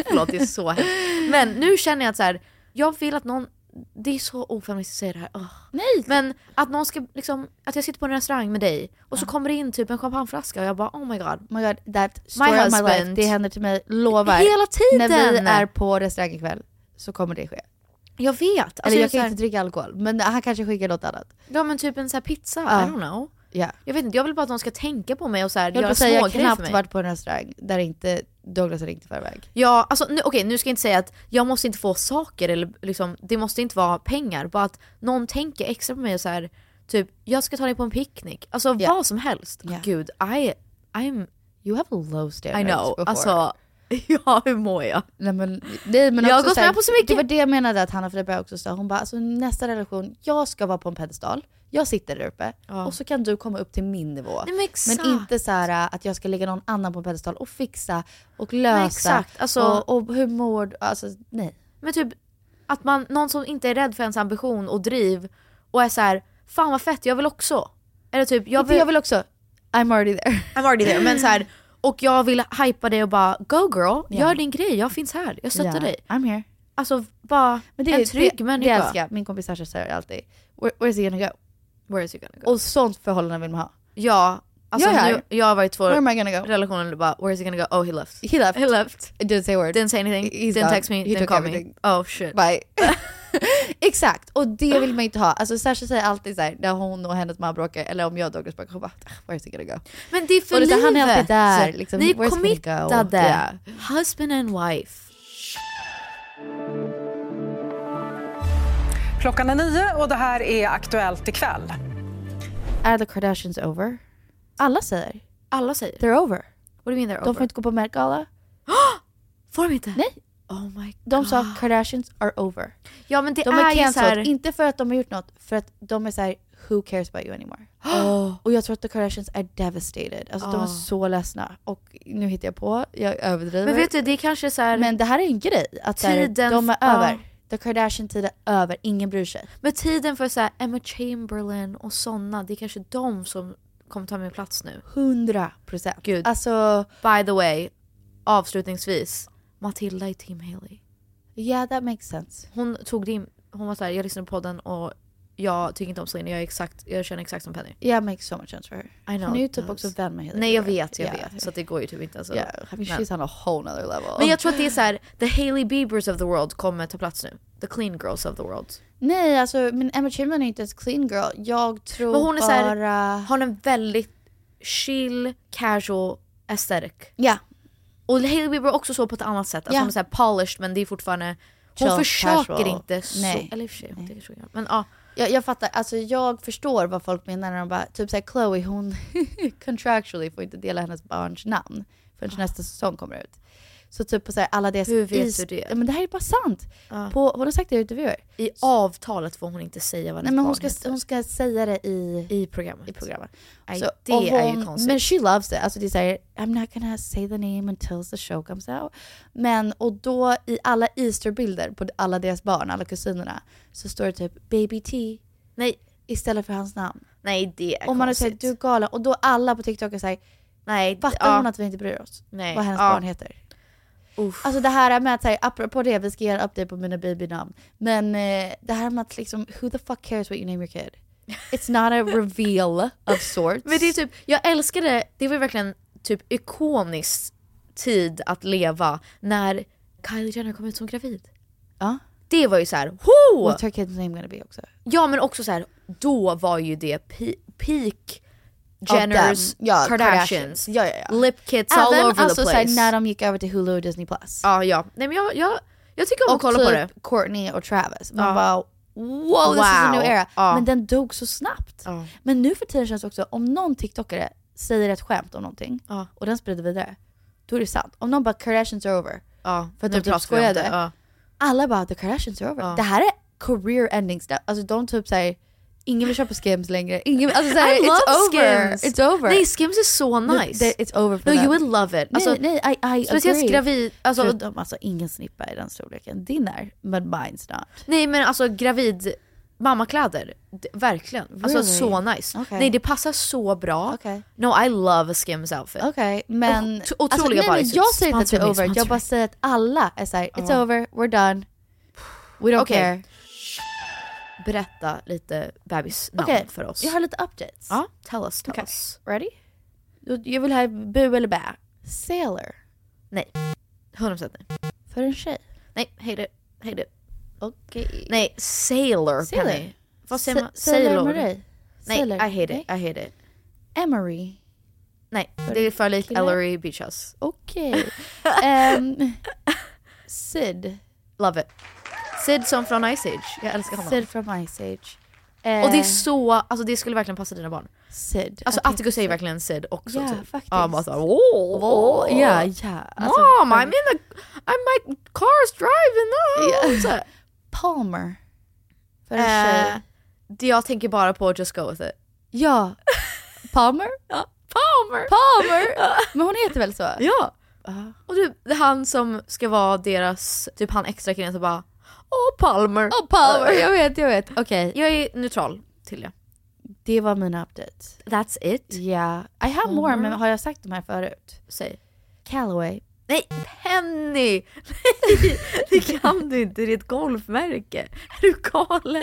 D: Förlåt det är så hemskt. Men nu känner jag att så här, jag vill att någon, det är så ofeministiskt att säga det här. Åh.
C: Nej.
D: Men att någon ska liksom, att jag sitter på en restaurang med dig och så kommer det in typ en champagneflaska och jag bara oh my god.
C: Oh my god, that story
D: My
C: my of my life,
D: husband.
C: det händer till mig, lovar.
D: Hela tiden!
C: När vi är på restaurang ikväll så kommer det ske.
D: Jag vet. Alltså,
C: Eller jag
D: så
C: kan
D: här,
C: inte dricka alkohol, men han kanske skickar något annat.
D: Ja men typ en så här pizza, I don't know.
C: Ja.
D: Jag vet inte, jag vill bara att de ska tänka på mig och så här,
C: Jag höll på
D: göra
C: att säga, jag har
D: smågrejer för
C: knappt
D: mig.
C: varit på en restaurang där inte Douglas har ringt i förväg.
D: Ja, alltså nu, okej nu ska jag inte säga att jag måste inte få saker eller liksom, det måste inte vara pengar. Bara att någon tänker extra på mig och så här, typ jag ska ta dig på en picknick. Alltså
C: Ja.
D: vad som helst.
C: Ja.
D: Gud, I, I'm,
C: You have a low
D: I
C: standards
D: know.
C: before.
D: Alltså, ja hur mår jag?
C: Nej men, nej, men
D: Jag har
C: också
D: gått
C: så här,
D: med på så mycket.
C: Det var det jag menade att Hanna Friberg också sa. Hon bara, alltså nästa relation, jag ska vara på en pedestal. Jag sitter där uppe
D: Ja.
C: och så kan du komma upp till min nivå.
D: Nej, men exakt.
C: inte så här äh, att jag ska lägga någon annan på en pedestal och fixa och
D: Nej,
C: lösa.
D: exakt. Alltså-
C: och, och hur mår du? Alltså nej.
D: Men typ att man, någon som inte är rädd för ens ambition och driv och är så här, fan vad fett jag vill också. Eller typ jag
C: Jag
D: vill,
C: vill, jag vill också, I'm already there.
D: I'm already there men så här, och jag vill hypa dig och bara go girl,
C: Ja.
D: gör din grej, jag finns här, jag stöttar
C: Yeah,
D: dig.
C: I'm here.
D: Alltså bara en trygg
C: det,
D: människa.
C: Det älskar jag. Min kompis Sasha säger alltid, where, where's he gonna go?
D: Where is you gonna go?
C: Och sånt förhållande vill man ha.
D: ja, Alltså,
C: Jag är här.
D: nu, jag har varit i två
C: Where am I gonna go?
D: relationer och bara where is he gonna go? Oh he left.
C: He left.
D: He left.
C: It didn't say a word.
D: Didn't say anything.
C: He's
D: didn't
C: done.
D: text me.
C: He
D: didn't
C: took
D: call
C: everything.
D: me. Oh shit.
C: Bye. Exakt, och det vill man ju inte ha. Alltså Sasha säger alltid så här, när hon och hennes man bråkar, eller om jag och Douglas bråkar, hon bara "Ah, “Where's it gonna go?”
D: Men det är för
C: Och lite,
D: livet.
C: han är alltid där,
D: Så,
C: liksom,
D: ni
C: where's
D: är
C: it gonna go?
D: committade.
C: Yeah.
D: Husband and wife.
J: Klockan är nio och det här är Aktuellt ikväll.
C: Är the Kardashians over? Alla säger.
D: Alla säger.
C: They're over.
D: What do you mean they're
C: De
D: over?
C: får inte gå på Met Gala.
D: Får de inte?
C: Nej.
D: Oh my god.
C: De sa Kardashians are over.
D: Ja men det
C: de
D: är,
C: är
D: ju så
C: cancelled,
D: här...
C: inte för att de har gjort något, för att de är så här, “Who cares about you anymore?”
D: Åh.
C: Och jag tror att the Kardashians är devastated. Alltså de
D: Ja.
C: är så ledsna. Och nu hittar jag på, jag överdriver.
D: Men vet du det är kanske så här... ah.
C: Men det här är en grej, att så här,
D: Tiden-
C: de är
D: ja.
C: över. The Kardashian-tid är över, ingen bryr sig.
D: Med tiden för så här, Emma Chamberlain och såna, det är kanske de som kommer ta min plats nu.
C: 100 procent.
D: Gud.
C: Alltså,
D: By the way, avslutningsvis. Matilda i Team Haley.
C: yeah that makes sense.
D: Hon tog det in, hon var såhär, jag lyssnade på podden och jag tycker inte om Selena, jag, är exakt, jag känner exakt som Penny.
C: Yeah makes so much sense for her.
D: I know.
C: Hon är ju typ också vän med Hillary.
D: Nej jag vet, jag
C: Yeah.
D: vet. Så att det går ju typ inte. Alltså.
C: Yeah, I mean,
D: Men-
C: she's on a whole nother level.
D: Men jag tror att det är så här: the Hailey Biebers of the world kommer ta plats nu. The clean girls of the world.
C: Nej alltså, men Emma Chamberlain är inte ens clean girl. Jag tror
D: Men hon är så här,
C: bara...
D: har en väldigt chill, casual aesthetic.
C: Ja.
D: Och Hailey Bieber är också så på ett annat sätt. Alltså
C: Ja.
D: Hon är så här polished men det är fortfarande, hon
C: Chill,
D: försöker
C: casual.
D: inte så.
C: Nej.
D: Eller i och för sig, det är så jag gör. men ja.
C: Jag, jag fattar, alltså jag förstår vad folk menar när de bara, typ såhär Chloe hon contractually får inte dela hennes barns namn förrän nästa säsong kommer ut. Så typ på såhär alla deras...
D: Ah. Hur vet
C: is-
D: du det? Ah.
C: Ja, men det här är bara sant.
D: Ja.
C: På, hon har sagt det i intervjuer.
D: I avtalet får hon inte säga vad
C: Nej
D: hennes
C: men
D: barn
C: hon ska,
D: heter.
C: hon ska säga det i,
D: I programmet.
C: i programmet.
D: Nej,
C: Så-
D: det
C: och
D: är ju
C: hon-
D: konstigt.
C: Men she loves it. Alltså det är såhär, I'm not gonna say the name until the show comes out. Men, och då i alla Easter-bilder på alla deras barn, alla kusinerna, så står det typ baby T
D: Nej,
C: istället för hans namn.
D: nej det är
C: Och man är såhär,
D: konstigt.
C: du är galen. Och då alla på TikTok är såhär,
D: nej,
C: fattar
D: ja.
C: hon att vi inte bryr oss?
D: Nej,
C: Vad hennes
D: ja.
C: barn heter.
D: Uff.
C: Alltså det här med att, så här, apropå det, vi ska göra en update på mina babynamn. Men eh, det här med att liksom, who the fuck cares what you name your kid? It's not a reveal of sorts.
D: Men det är typ, jag älskade, det var ju verkligen typ ikonisk tid att leva när Kylie Jenner kom ut som gravid.
C: Ja.
D: Det var ju så här, ho!
C: What's her kid's name gonna be också?
D: Ja men också så här, då var ju det pe- peak Jenners,
C: Of them. Ja,
D: Kardashians,
C: Ja, ja, ja.
D: lip kits all
C: Även
D: over
C: alltså
D: the
C: så här,
D: place.
C: när de gick över till Hulu och Disney+. Plus.
D: Ja ja, nej men jag, jag, jag tycker om att
C: och
D: kolla
C: typ
D: på det.
C: Courtney och Travis. Man
D: Ja.
C: bara wow, this is Oh, a new
D: Wow.
C: era.
D: Ja.
C: Men den dog så snabbt.
D: Ja.
C: Men nu för tiden känns det också, om någon TikTokare säger ett skämt om någonting
D: Ja.
C: och den sprider vidare, då är det sant. Om någon bara “Kardashians are over”,
D: Ja,
C: för att
D: nu
C: de typ
D: pratar vi om
C: skojade.
D: det, ja.
C: alla bara “The Kardashians are over”.
D: Ja.
C: Det här är career ending stuff. Alltså de typ säger ingen vill köpa Skims längre. Ingen, alltså såhär,
D: I
C: it's
D: love
C: over.
D: Skims.
C: It's over.
D: Nej Skims är så
C: The-
D: nice.
C: the- It's over for
D: no
C: them.
D: you would love it. Alltså,
C: nej, nej, I, I
D: speciellt
C: agree.
D: gravid, alltså,
C: Förutom alltså ingen snippa i den storleken. Din är, men mine's not.
D: Nej men alltså gravid mammakläder, D- verkligen. Alltså
C: Really?
D: så nice.
C: Okej.
D: Nej det passar så bra.
C: Okej.
D: No I love a Skims outfit.
C: Okej, men... alltså,
D: Och- otroliga
C: nej, nej,
D: bodysuits.
C: Jag säger inte att det
D: Sponsor
C: är
D: me,
C: over,
D: sponsor
C: jag bara
D: me.
C: säger att alla är såhär, it's
D: Ja.
C: over, we're done. We don't
D: Okej.
C: care.
D: Berätta lite bebisnamn
C: Okej,
D: för oss.
C: jag har lite updates.
D: Ja, tell us, tell
C: Okej.
D: us.
C: Ready? Jag- Jag vill ha bu eller bä. Sailor.
D: Nej. 100% nej.
C: För en tjej.
D: Nej, hej det. Hej det.
C: Okej.
D: Nej, sailor.
C: Sailor.
D: Penny. Vad säger
C: Sa-
D: man?
C: Sailor
D: Sailor.
C: Marie.
D: Nej,
C: Sailor.
D: I hate
C: Nej.
D: it. I hate it.
C: Emery.
D: Nej, det är för likt
C: Kille.
D: Ellery Beach House.
C: Okej. Ehm, Sid.
D: Love it. Sid som från Ice Age. Jag älskar honom.
C: Sid from Ice Age.
D: Och det är
C: Eh,
D: så, alltså det skulle verkligen passa dina barn.
C: Sid.
D: Alltså
C: Jag tänkte
D: Atticus är ju
C: Sid.
D: verkligen Sid också.
C: Ja,
D: typ.
C: faktiskt.
D: Ja, man såhär åh, åh,
C: Ja, ja. Alltså,
D: Mom,
C: för-
D: I'm in the, I'm my car's driving
C: Ja.
D: now. Så-
C: Palmer. För en
D: Eh,
C: tjej.
D: det jag tänker bara på just go with it.
C: Ja. Palmer?
D: Palmer!
C: Palmer! Men hon heter väl så?
D: Ja!
C: Ja.
D: Och du, det är han som ska vara deras, typ han extra killen som bara åh Palmer.
C: Oh, Palmer, jag vet, jag vet. Okej,
D: Jag är neutral till det.
C: det var mina updates.
D: That's it.
C: Ja, I have more men har jag sagt de här förut?
D: Säg.
C: Callaway,
D: Nej, Penny! Nej, det kan du inte. Det är ett golfmärke. Är du galen?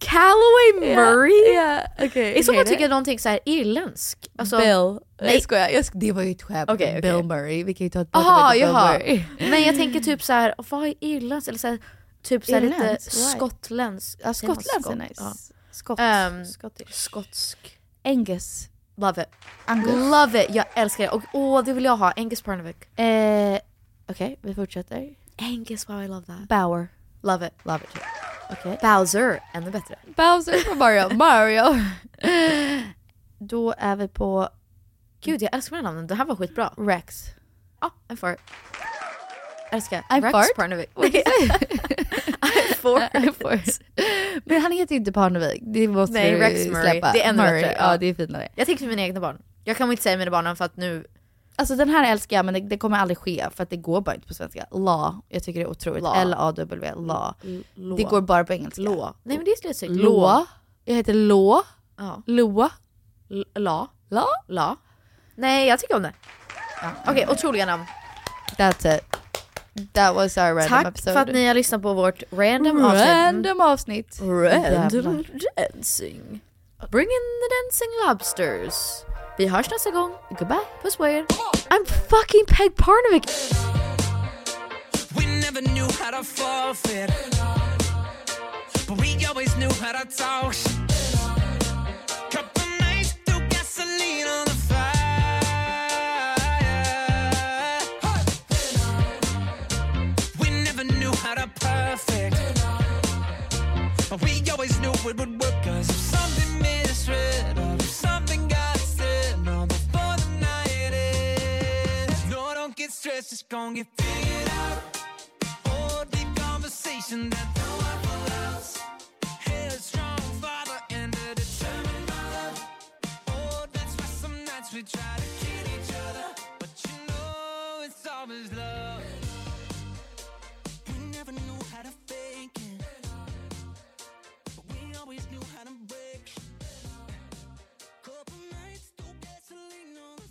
D: Callaway
F: Ja,
D: Murray?
F: ja, okej,
D: I så
F: okej,
D: fall
F: det-
D: tycker jag någonting så här irländsk. Alltså,
F: Bill. Nej,
D: Nej.
F: jag skojar. Jag sk- det var ju ett skämt.
D: Okej, okej.
F: Bill Murray. Vi kan ju ta ett
D: Jaha,
F: Bill
D: jaha.
F: Murray.
D: Men jag tänker typ så här, vad är irländskt? Eller så här, typ så här lite
C: Irländskt, why?
D: skottländsk.
C: Ja,
D: Säger man
C: skottländsk är
D: skott?
C: nice.
D: Ja.
C: Skott,
D: Ehm,
C: Scottish.
D: skotsk.
C: Angus.
D: Love it.
C: Angus.
D: Love it, jag älskar det. Och åh, det vill jag ha. Angus Parnevik.
C: Eh, Okej, vi fortsätter.
D: Angus, wow I love that.
C: Bauer.
D: Love it. Love it.
C: Okej.
D: Bowser, ännu bättre.
F: Bowser från Mario. Mario.
C: Då är vi på
D: Gud, jag älskar de här namnen. Det här var skitbra.
C: Rex.
D: Ja, en fart. Älskar.
F: I'm
D: Rex
F: fart?
D: Parnevik.
F: What did you say?
D: Fort.
F: Fort. Men han heter ju inte Parnevik. Det måste
D: Nej,
F: du
D: Rex Murray.
F: släppa.
D: Det är ännu
F: Murray.
D: bättre,
F: Ja.
D: ja.
F: det är finare.
D: Jag tänker på mina egna barn. Jag kan väl inte säga mina barn för att nu...
C: Alltså den här älskar jag men det, det kommer aldrig ske för att det går bara inte på svenska. La. Jag tycker det är otroligt.
D: La.
C: L-A-W. La.
D: Lå.
C: Det går bara på engelska.
D: Lå. Nej men det är lite snyggt.
C: Lå. Jag heter Lå.
D: Ja.
C: Loa.
D: L- La.
C: La.
D: La. Nej, jag tycker om det. Okej, otroliga namn.
F: That's it. That was our random
D: Tack
F: episode.
D: för att ni har lyssnat på vårt random avsnitt.
F: Random avsnitt.
D: Random dancing. Bring in the dancing lobsters. Vi hörs nästa gång. Goodbye. Puss på er. I'm fucking Peg Parnevik.
I: We never knew how to forfeit. But we always knew how to talk. shit. Couple nights threw gasoline on the fire. We never knew how to perfect. But we always knew it would work. Cause if something misread, or if something got said, no, before the night ends. No, don't get stressed, it's gonna get figured out. Oh, deep conversation that no one will else. Had a strong father and a determined mother. Oh, that's why some nights we try to kid each other. But you know it's always love. We never knew how to fake it. But we always knew how to break it. Couple nights, threw gasoline on the